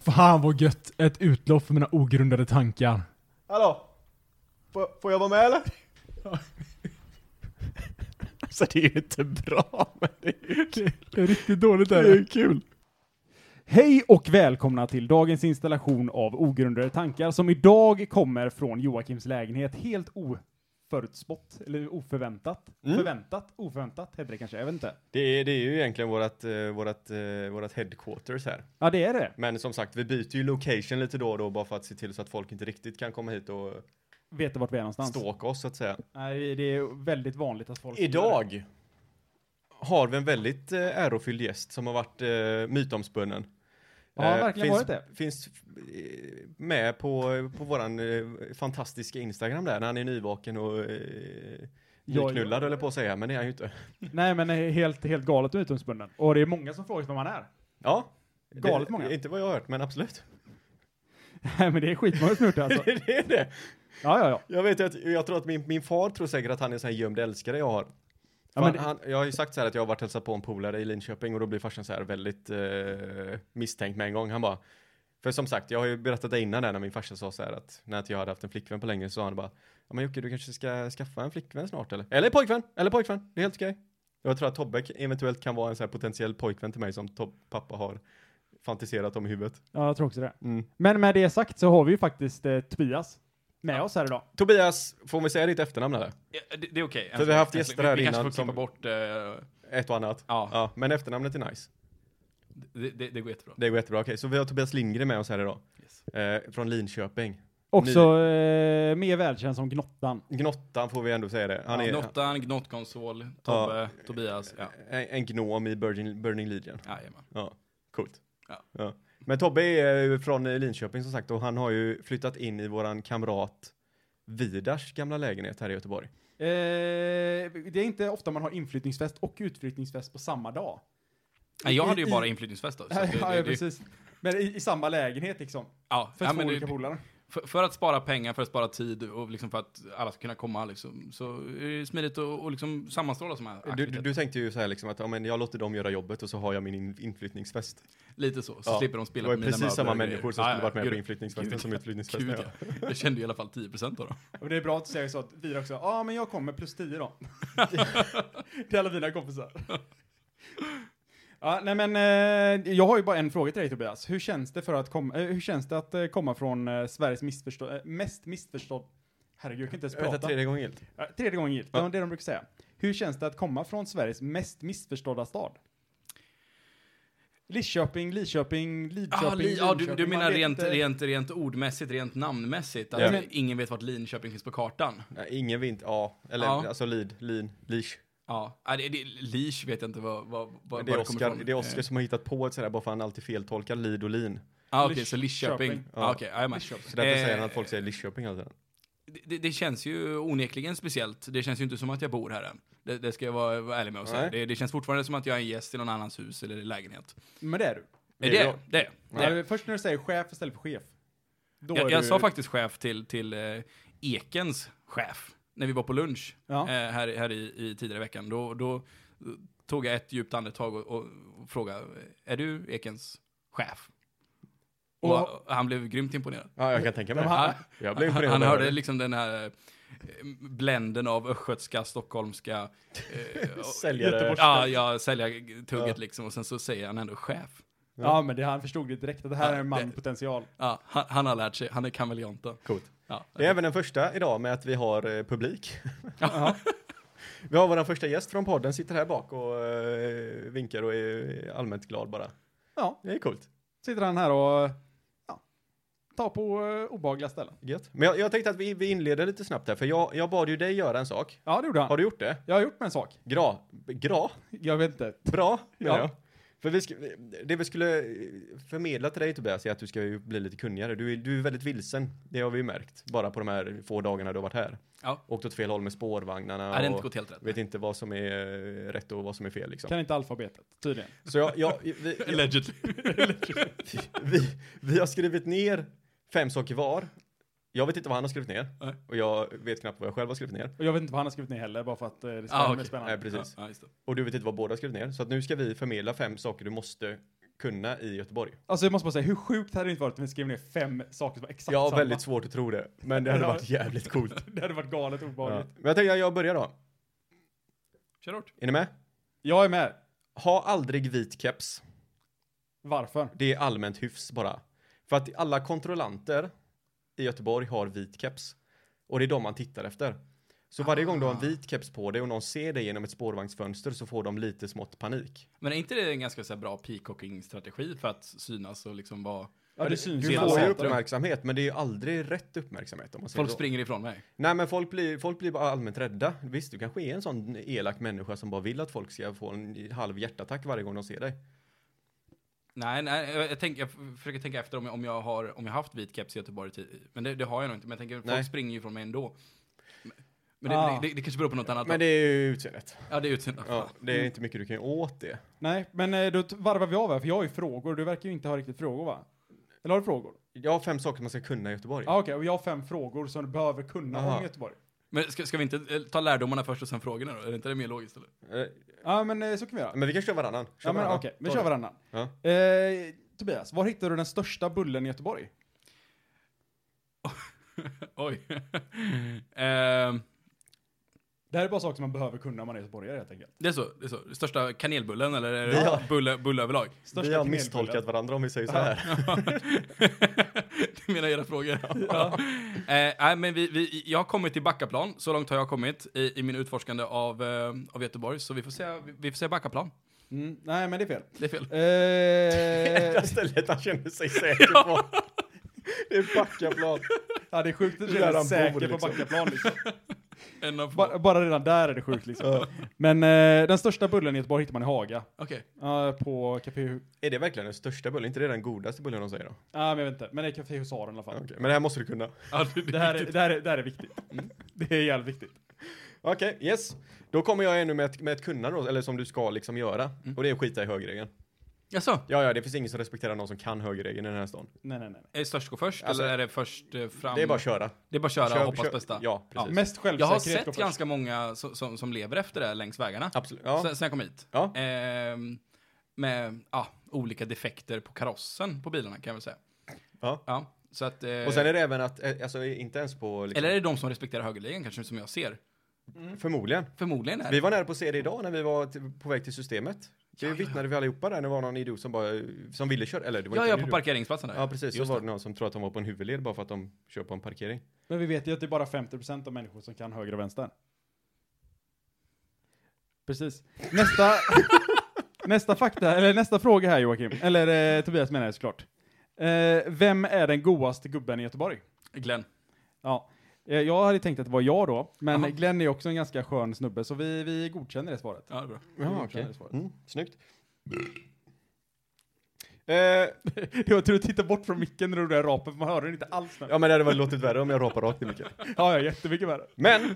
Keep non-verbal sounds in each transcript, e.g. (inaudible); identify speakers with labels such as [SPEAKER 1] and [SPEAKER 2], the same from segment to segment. [SPEAKER 1] Fan vad gött! Ett utlopp för mina ogrundade tankar.
[SPEAKER 2] Hallå? Får, får jag vara med eller?
[SPEAKER 3] (laughs) Alltså det är ju inte bra, men det är ju kul.
[SPEAKER 1] Det är riktigt dåligt
[SPEAKER 3] Det är ju kul.
[SPEAKER 4] Hej och välkomna till dagens installation av Ogrundade tankar som idag kommer från Joakims lägenhet helt oförutspått, eller oförväntat.
[SPEAKER 3] Mm.
[SPEAKER 4] Förväntat, oförväntat heter det kanske, jag vet inte.
[SPEAKER 3] Det är, det är ju egentligen vårat, eh, vårat, eh, vårat headquarters här.
[SPEAKER 4] Ja, det är det.
[SPEAKER 3] Men som sagt, vi byter ju location lite då och då bara för att se till så att folk inte riktigt kan komma hit och
[SPEAKER 4] Vet du vart vi är någonstans?
[SPEAKER 3] ståka oss så att säga.
[SPEAKER 4] Nej, det är väldigt vanligt att folk...
[SPEAKER 3] Idag har vi en väldigt eh, ärofylld gäst som har varit eh, mytomspunnen. Eh,
[SPEAKER 4] Ja, verkligen
[SPEAKER 3] finns,
[SPEAKER 4] varit det.
[SPEAKER 3] Finns eh, med på, på våran eh, fantastiska Instagram där när han är nyvaken och eh,
[SPEAKER 4] Ja,
[SPEAKER 3] nyknullad
[SPEAKER 4] ja.
[SPEAKER 3] eller på att säga, men det är han ju inte.
[SPEAKER 4] Nej, men är helt, helt galet mytomspunnen. Och det är många som frågar vem man är. (laughs)
[SPEAKER 3] Ja.
[SPEAKER 4] Galet
[SPEAKER 3] det,
[SPEAKER 4] många.
[SPEAKER 3] Inte vad jag har hört, men absolut. (laughs)
[SPEAKER 4] Nej, men det är skitmånga som gjort det alltså.
[SPEAKER 3] det är det.
[SPEAKER 4] Ja, ja, ja.
[SPEAKER 3] Jag vet ju att, jag tror att min, min far tror säkert att han är en sån här gömd älskare jag har. För
[SPEAKER 4] men
[SPEAKER 3] han,
[SPEAKER 4] det-
[SPEAKER 3] han, jag har ju sagt så här att jag har varit och hälsat på en polare i Linköping och då blir farsan så här väldigt eh, misstänkt med en gång. Han bara, för som sagt, jag har ju berättat det innan där när min farsa sa så här att när inte jag hade haft en flickvän på länge så sa han bara, ja men Jocke du kanske ska skaffa en flickvän snart eller? Eller pojkvän, eller pojkvän, det är helt okej. Jag tror att Tobbe eventuellt kan vara en sån här potentiell pojkvän till mig som Tob- pappa har fantiserat om i huvudet. Mm.
[SPEAKER 4] Ja, jag tror också det. Men med det sagt så har vi ju faktiskt eh, Tobias med oss här idag.
[SPEAKER 3] Tobias, får vi säga ditt efternamn eller?
[SPEAKER 5] Ja, det, det är okej.
[SPEAKER 3] För vi har haft gäster här
[SPEAKER 5] vi, vi
[SPEAKER 3] innan
[SPEAKER 5] kanske får
[SPEAKER 3] som-
[SPEAKER 5] klippa bort... eh,
[SPEAKER 3] Ett och annat.
[SPEAKER 5] Ja.
[SPEAKER 3] ja men efternamnet är nice.
[SPEAKER 5] det, det, det går jättebra.
[SPEAKER 3] Det går jättebra. Okej, så vi har Tobias Lindgren med oss här idag.
[SPEAKER 5] Yes.
[SPEAKER 3] Eh, från Linköping.
[SPEAKER 4] Också eh, mer välkänd som Gnottan.
[SPEAKER 3] Gnottan får vi ändå säga det. Han
[SPEAKER 5] ja,
[SPEAKER 3] är
[SPEAKER 5] Gnottan, Gnottkonsol, Tobbe, Tobias. Ja.
[SPEAKER 3] en, en gnom i Burning, Burning Legion.
[SPEAKER 5] Jajamän.
[SPEAKER 3] Ja, coolt.
[SPEAKER 5] Ja.
[SPEAKER 3] Men Tobbe är ju från eh, Linköping som sagt och han har ju flyttat in i våran kamrat Vidars gamla lägenhet här i Göteborg.
[SPEAKER 4] Eh, det är inte ofta man har inflyttningsfest och utflyttningsfest på samma dag.
[SPEAKER 5] Nej, jag hade ju
[SPEAKER 4] I-
[SPEAKER 5] bara inflyttningsfest då.
[SPEAKER 3] (laughs)
[SPEAKER 5] så att det-
[SPEAKER 4] (laughs) ja,
[SPEAKER 5] det-
[SPEAKER 4] ja,
[SPEAKER 5] det-
[SPEAKER 4] precis. Men i, i samma lägenhet liksom.
[SPEAKER 5] ja,
[SPEAKER 4] För
[SPEAKER 5] ja,
[SPEAKER 4] två
[SPEAKER 5] men
[SPEAKER 4] olika
[SPEAKER 5] det,
[SPEAKER 4] polare.
[SPEAKER 5] för, för att spara pengar, för att spara tid och liksom för att alla ska kunna komma liksom, så är det smidigt att och liksom sammanstråla som här
[SPEAKER 3] Du,
[SPEAKER 5] aktiviteter.
[SPEAKER 3] du, du tänkte ju så här liksom att ja, men jag låter dem göra jobbet och så har jag min in, inflyttningsfest.
[SPEAKER 5] Lite så, så
[SPEAKER 3] Ja.
[SPEAKER 5] slipper de
[SPEAKER 3] Det
[SPEAKER 5] spilla
[SPEAKER 3] var
[SPEAKER 5] på
[SPEAKER 3] ju
[SPEAKER 5] mina
[SPEAKER 3] precis samma
[SPEAKER 5] möbler och
[SPEAKER 3] människor som
[SPEAKER 5] grejer.
[SPEAKER 3] skulle varit med
[SPEAKER 5] gud,
[SPEAKER 3] på inflyttningsfesten
[SPEAKER 5] gud,
[SPEAKER 3] som utflyttningsfesten.
[SPEAKER 5] Gud,
[SPEAKER 3] ja.
[SPEAKER 5] ja. Jag kände i alla fall 10% av dem.
[SPEAKER 4] Och det är bra att du säger så att Vidar också, ja ah, men jag kommer plus 10 (laughs) då. till alla mina kompisar. Ja, nej men eh, jag har ju bara en fråga till dig Tobias. Hur känns det för att komma, eh, hur känns det att eh, komma från eh, Sveriges missförstå- eh, mest missförstådd, herregud jag kan inte ens
[SPEAKER 3] Vänta,
[SPEAKER 4] prata.
[SPEAKER 3] tredje gången gillt.
[SPEAKER 4] Ja, tredje gången gillt, det var det de brukar säga. Hur känns det att komma från Sveriges mest missförstådda stad? Lidköping, Lidköping, Lidköping,
[SPEAKER 5] Ah, li, ja, du, du
[SPEAKER 4] Linköping, man
[SPEAKER 5] menar
[SPEAKER 4] vet
[SPEAKER 5] rent,
[SPEAKER 4] inte.
[SPEAKER 5] rent, rent ordmässigt, rent namnmässigt? Att
[SPEAKER 3] Ja.
[SPEAKER 5] eh, ingen vet vart Linköping finns på kartan?
[SPEAKER 3] Nej, ingen vinter, ja. Eller
[SPEAKER 5] Ja.
[SPEAKER 3] alltså lid, lin, lish.
[SPEAKER 5] Ja, ah, det, det, Leash vet jag inte vad, vad,
[SPEAKER 3] Det
[SPEAKER 5] vad
[SPEAKER 3] är,
[SPEAKER 5] var kommer
[SPEAKER 3] Oscar,
[SPEAKER 5] ifrån.
[SPEAKER 3] det är Oscar
[SPEAKER 5] Eh,
[SPEAKER 3] som har hittat på ett sådär bara för han alltid feltolkar lid och lin.
[SPEAKER 5] Ah, Okej,
[SPEAKER 4] Lish-
[SPEAKER 5] så Lidköping.
[SPEAKER 4] Köping.
[SPEAKER 5] Ah, okay, jajamän.
[SPEAKER 4] Lidköping.
[SPEAKER 3] Så därför
[SPEAKER 5] Eh,
[SPEAKER 3] säger han att folk säger Lidköping hela tiden.
[SPEAKER 5] det- Eh, det, det känns ju onekligen speciellt. Det känns ju inte som att jag bor här än. Det, det ska jag vara, vara ärlig med och säga.
[SPEAKER 3] Nej.
[SPEAKER 5] Det, det känns fortfarande som att jag är en gäst i någon annans hus eller lägenhet.
[SPEAKER 4] Men det är du.
[SPEAKER 5] Det,
[SPEAKER 3] Det är
[SPEAKER 5] det,
[SPEAKER 3] jag.
[SPEAKER 5] det, det.
[SPEAKER 4] Nej. först när du säger chef istället för chef. Då
[SPEAKER 5] Jag,
[SPEAKER 4] är
[SPEAKER 5] jag
[SPEAKER 4] du-
[SPEAKER 5] sa faktiskt chef till, till eh, Ekens chef när vi var på lunch
[SPEAKER 4] Ja.
[SPEAKER 5] eh, här, här i, i tidigare veckan. Då, då eh, tog jag ett djupt andetag och, och frågade, är du Ekens chef? Och,
[SPEAKER 4] Och-
[SPEAKER 5] han blev grymt imponerad.
[SPEAKER 3] Ja, jag kan tänka mig
[SPEAKER 5] Han,
[SPEAKER 3] det. Jag blev
[SPEAKER 5] han,
[SPEAKER 3] imponerad.
[SPEAKER 5] han
[SPEAKER 3] av
[SPEAKER 5] hörde
[SPEAKER 3] det.
[SPEAKER 5] liksom den här eh, bländen av östgötska, stockholmska,
[SPEAKER 3] (laughs)
[SPEAKER 5] eh, och-
[SPEAKER 3] Säljare.
[SPEAKER 5] ja, ja, säljartugget liksom. Och sen så säger han ändå chef.
[SPEAKER 4] Ja, men det, han förstod det direkt att det här är en man med potential.
[SPEAKER 5] Ja, han, han har lärt sig, han är kameleonten.
[SPEAKER 3] Coolt.
[SPEAKER 5] Ja,
[SPEAKER 3] Det är även den första idag med att vi har eh,
[SPEAKER 5] (laughs)
[SPEAKER 3] publik. vi har vår första gäst från podden, sitter här bak och eh, vinkar och är allmänt glad bara.
[SPEAKER 4] Ja,
[SPEAKER 3] Det är coolt.
[SPEAKER 4] sitter han här och ja, tar på eh, obehagliga ställen.
[SPEAKER 3] Gött. Men jag, jag tänkte att vi, vi inleder lite snabbt här, för jag, jag bad ju dig göra en sak.
[SPEAKER 4] Ja, det gjorde han.
[SPEAKER 3] Har du gjort det?
[SPEAKER 4] Jag har gjort med en sak.
[SPEAKER 3] Gra? Gra?
[SPEAKER 4] Jag vet inte.
[SPEAKER 3] Bra, menar
[SPEAKER 4] Ja.
[SPEAKER 3] jag. För vi sk- det vi skulle eh, förmedla till dig Tobias är att du ska ju bli lite kunnigare. Du är, du är väldigt vilsen, det har vi ju märkt. Bara på de här få dagarna du har varit här.
[SPEAKER 5] Ja.
[SPEAKER 3] Åkt åt fel håll med spårvagnarna
[SPEAKER 5] det har inte
[SPEAKER 3] och
[SPEAKER 5] gått helt rätt.
[SPEAKER 3] vet inte vad som är eh, rätt och vad som är fel liksom.
[SPEAKER 4] Kan inte alfabetet, tydligen.
[SPEAKER 3] Så jag, jag,
[SPEAKER 5] (laughs)
[SPEAKER 3] vi, jag
[SPEAKER 5] Allegedly.
[SPEAKER 3] vi, vi har skrivit ner fem saker var. Jag vet inte vad han har skrivit ner.
[SPEAKER 5] Nej.
[SPEAKER 3] Och jag vet knappt vad jag själv har skrivit ner.
[SPEAKER 4] Och jag vet inte vad han har skrivit ner heller, bara för att eh, det ska
[SPEAKER 5] Ah,
[SPEAKER 4] vara mer
[SPEAKER 5] okej.
[SPEAKER 4] spännande.
[SPEAKER 3] Nej, (laughs) precis.
[SPEAKER 5] Ja, just det.
[SPEAKER 3] Och du vet inte vad båda har skrivit ner. Så att nu ska vi förmedla fem saker du måste kunna i Göteborg.
[SPEAKER 4] Alltså jag måste bara säga, hur sjukt hade det inte varit om vi skrev ner fem saker som var exakt
[SPEAKER 3] jag har
[SPEAKER 4] samma?
[SPEAKER 3] väldigt svårt att tro det, men det hade varit jävligt
[SPEAKER 5] (laughs)
[SPEAKER 3] coolt.
[SPEAKER 4] (laughs) Det hade varit galet
[SPEAKER 3] Ja.
[SPEAKER 4] obehagligt.
[SPEAKER 3] Men jag tänker att jag börjar då.
[SPEAKER 5] Kör hårt.
[SPEAKER 3] Är ni med?
[SPEAKER 4] Jag är med.
[SPEAKER 3] Ha aldrig vit keps.
[SPEAKER 4] Varför?
[SPEAKER 3] Det är allmänt hyfs bara. För att alla kontrollanter i Göteborg har vit keps. Och det är de man tittar efter. Så varje gång
[SPEAKER 5] Ah.
[SPEAKER 3] du har en vit keps på dig och någon ser dig genom ett spårvagnsfönster så får de lite smått panik.
[SPEAKER 5] Men är inte det en ganska så här, bra peacocking-strategi för att synas och liksom vara...
[SPEAKER 4] Ja, det
[SPEAKER 3] Du
[SPEAKER 4] syns ju.
[SPEAKER 3] får ju
[SPEAKER 4] alla.
[SPEAKER 3] uppmärksamhet, men det är ju aldrig rätt uppmärksamhet om man säger
[SPEAKER 5] Folk
[SPEAKER 3] så.
[SPEAKER 5] springer ifrån mig.
[SPEAKER 3] Nej, men folk blir, folk blir bara allmänt rädda. Visst, du kanske är en sån elak människa som bara vill att folk ska få en halv hjärtattack varje gång de ser dig.
[SPEAKER 5] Nej, nej jag, jag, tänker, jag f- försöker tänka efter om jag, om jag har om jag haft vit keps i Göteborg. ti- Men det, det har jag nog inte. Men jag tänker,
[SPEAKER 3] Nej.
[SPEAKER 5] folk springer ju ifrån mig ändå. Men- Men det,
[SPEAKER 4] Ah.
[SPEAKER 5] det, det, det kanske beror på något annat.
[SPEAKER 3] Men
[SPEAKER 5] då.
[SPEAKER 3] det är ju utseendet.
[SPEAKER 5] Ja, det är utseendet.
[SPEAKER 3] Ja, det är inte mycket du kan göra åt det.
[SPEAKER 4] Nej, men eh, då t- varvar vi av här, för jag har ju frågor. Du verkar ju inte ha riktigt frågor, va? Eller har du frågor?
[SPEAKER 3] Jag har fem saker man ska kunna i Göteborg.
[SPEAKER 4] Ja, ah, okej. Och jag har fem frågor som du behöver kunna
[SPEAKER 3] Aha.
[SPEAKER 4] om Göteborg.
[SPEAKER 5] Men ska, ska vi inte eh, ta lärdomarna först och sen frågorna då? Är det inte det mer logiskt? Eller? (laughs)
[SPEAKER 3] Eh,
[SPEAKER 4] Ja, men eh, så kan vi göra.
[SPEAKER 3] Men vi kan köra varannan. Kör
[SPEAKER 4] Ja, men okej.
[SPEAKER 3] varannan.
[SPEAKER 4] vi kör varannan.
[SPEAKER 3] Ja.
[SPEAKER 4] Eh, Tobias, var hittar du den största bullen i Göteborg?
[SPEAKER 5] Oj. (laughs) Ehm,
[SPEAKER 4] Det här är bara saker som man behöver kunna om man är göteborgare, helt enkelt.
[SPEAKER 5] det, är så, det är så. Största kanelbullen eller är det
[SPEAKER 3] Vi har-
[SPEAKER 5] bulle, bulle överlag?
[SPEAKER 4] Största
[SPEAKER 3] Vi har
[SPEAKER 4] kanelbullen.
[SPEAKER 3] misstolkat varandra om vi säger så
[SPEAKER 5] (laughs)
[SPEAKER 3] här.
[SPEAKER 5] du menar era frågor? (laughs) Ja. eh, nej, men vi, vi, jag har kommit till Backaplan, så långt har jag kommit i, i min utforskande av, eh, av Göteborg. Så vi får, säga, vi, vi får säga Backaplan.
[SPEAKER 4] Mm, nej, men det är fel.
[SPEAKER 5] Det är fel.
[SPEAKER 4] Eh,
[SPEAKER 3] (laughs)
[SPEAKER 4] (laughs)
[SPEAKER 3] Enda stället han känner (laughs) sig säker på. Det är Backaplan.
[SPEAKER 4] ja, det är sjukt att
[SPEAKER 3] Där
[SPEAKER 4] känna
[SPEAKER 3] han
[SPEAKER 4] sig säker
[SPEAKER 3] bor,
[SPEAKER 4] på
[SPEAKER 3] liksom.
[SPEAKER 4] Backaplan. Liksom.
[SPEAKER 5] En av
[SPEAKER 4] Bara,
[SPEAKER 5] Okej.
[SPEAKER 4] bara redan där är det sjukt, liksom. men eh, den största bullen i Göteborg hittar man i Haga. Ja, på Café... Hu-
[SPEAKER 3] Är det verkligen den största bullen? Inte det den godaste bullen de säger då?
[SPEAKER 4] Ja, men jag vet inte. Men det är Café Husaren i alla fall.
[SPEAKER 3] Okej, Men det här måste du kunna.
[SPEAKER 5] Ja, det,
[SPEAKER 4] Det, här är, det, här är, det här är viktigt.
[SPEAKER 5] Mm.
[SPEAKER 4] Det är jävligt viktigt.
[SPEAKER 3] Okej, yes. Då kommer jag ännu med ett, med ett kunna då, eller som du ska liksom göra. Och det är att skita i högerregeln.
[SPEAKER 5] (laughs) Jaså?
[SPEAKER 3] Ja, ja, det finns ingen som respekterar någon som kan högerregeln i den här stan.
[SPEAKER 4] Nej, nej, nej.
[SPEAKER 5] Är det störst gå först
[SPEAKER 3] Alltså,
[SPEAKER 5] eller är det först eh, fram?
[SPEAKER 3] Det är bara att köra.
[SPEAKER 5] Det är bara att köra
[SPEAKER 3] Kör-
[SPEAKER 5] och hoppas
[SPEAKER 3] kör-
[SPEAKER 5] bästa.
[SPEAKER 3] Ja, precis.
[SPEAKER 4] Mest
[SPEAKER 5] Jag har
[SPEAKER 4] självsäkerhet går
[SPEAKER 5] sett
[SPEAKER 4] först.
[SPEAKER 5] ganska många som, som, som lever efter det här längs vägarna.
[SPEAKER 3] Absolut. Ja.
[SPEAKER 5] Sen, sen jag kom hit.
[SPEAKER 3] ja.
[SPEAKER 5] Ehm, med ja, olika defekter på karossen på bilarna kan jag väl säga.
[SPEAKER 3] Ja.
[SPEAKER 5] så att, eh,
[SPEAKER 3] Och sen är det även att, eh, alltså inte ens på... Liksom,
[SPEAKER 5] Eller är det de som respekterar högerligan kanske som jag ser?
[SPEAKER 3] Förmodligen.
[SPEAKER 5] Förmodligen är
[SPEAKER 3] Vi
[SPEAKER 5] det.
[SPEAKER 3] var nära på att se det idag när vi var t- på väg till systemet. Det
[SPEAKER 5] Ja, ja,
[SPEAKER 3] vittnade vi allihopa där när det var någon idiot som bara, eh, som ville köra, eller det var
[SPEAKER 5] Ja,
[SPEAKER 3] inte
[SPEAKER 5] ja,
[SPEAKER 3] en
[SPEAKER 5] på
[SPEAKER 3] idiot.
[SPEAKER 5] parkeringsplatsen där.
[SPEAKER 3] Ja, precis. Så
[SPEAKER 5] Just
[SPEAKER 3] var
[SPEAKER 5] det.
[SPEAKER 3] det någon som tror att de var på en huvudled bara för att de kör på en parkering.
[SPEAKER 4] Men vi vet ju att det är bara 50% av människor som kan höger och vänster. Precis. Nästa, (laughs) nästa fakta, eller nästa fråga här Joakim, eller eh, Tobias menar jag såklart. Eh, vem är den godaste gubben i Göteborg?
[SPEAKER 5] Glenn.
[SPEAKER 4] Ja, eh, jag hade tänkt att det var jag då, men
[SPEAKER 5] Jaha.
[SPEAKER 4] Glenn är också en ganska skön snubbe, så vi, vi godkänner det svaret.
[SPEAKER 5] Ja, det är bra.
[SPEAKER 4] Vi godkänner det svaret.
[SPEAKER 3] Mm, snyggt. Eh,
[SPEAKER 4] (laughs) Det var tur att titta bort från micken när du där rapen, för man hör den inte alls. nu.
[SPEAKER 3] ja, men det hade väl låtit värre om jag rapade rakt i mycket.
[SPEAKER 4] Ja, ja, jättemycket värre.
[SPEAKER 3] Men,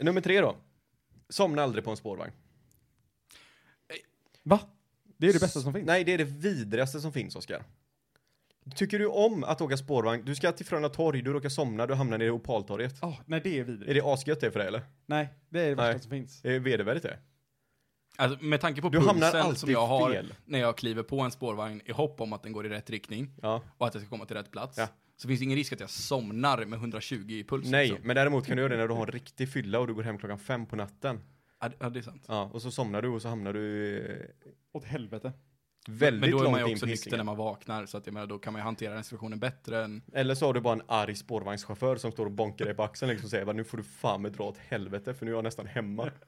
[SPEAKER 3] nummer tre då. Somna aldrig på en spårvagn.
[SPEAKER 4] Va? Det är det bästa som finns.
[SPEAKER 3] Nej, det är det vidrigaste som finns, Oskar. Tycker du om att åka spårvagn? Du ska till Frölunda torg, du råkar somna, du hamnar nere i Opaltorget.
[SPEAKER 4] Ah, nej, det är
[SPEAKER 3] Är
[SPEAKER 4] vidrigt.
[SPEAKER 3] det asgött det för dig eller?
[SPEAKER 4] Nej, det är det värsta
[SPEAKER 3] Nej.
[SPEAKER 4] som finns.
[SPEAKER 3] Är det Eh, vedervärdigt det?
[SPEAKER 5] Alltså, med tanke på
[SPEAKER 3] Du hamnar
[SPEAKER 5] pulsen
[SPEAKER 3] alltid
[SPEAKER 5] som jag har
[SPEAKER 3] fel.
[SPEAKER 5] när jag kliver på en spårvagn i hopp om att den går i rätt riktning
[SPEAKER 3] Ja.
[SPEAKER 5] och att jag ska komma till rätt plats.
[SPEAKER 3] Ja.
[SPEAKER 5] Så finns det ingen risk att jag somnar med 120 i puls.
[SPEAKER 3] Nej,
[SPEAKER 5] liksom.
[SPEAKER 3] men däremot kan du göra det när du har en riktig fylla och du går hem klockan fem på natten.
[SPEAKER 5] Ja, det- Ja, det är sant.
[SPEAKER 3] Ja, och så somnar du och så hamnar du eh,
[SPEAKER 4] Åt helvete.
[SPEAKER 3] väldigt
[SPEAKER 5] Men då är man
[SPEAKER 3] långt
[SPEAKER 5] ju
[SPEAKER 3] in
[SPEAKER 5] också
[SPEAKER 3] på
[SPEAKER 5] nykter när
[SPEAKER 3] Hisingen.
[SPEAKER 5] man vaknar, så att jag menar, då kan man ju hantera den situationen bättre än... (laughs)
[SPEAKER 3] Eller så har du bara en arg spårvagnschaufför som står och bonkar dig på axeln liksom och säger bara, nu får du fan med dra åt helvete för nu är jag nästan hemma. (laughs)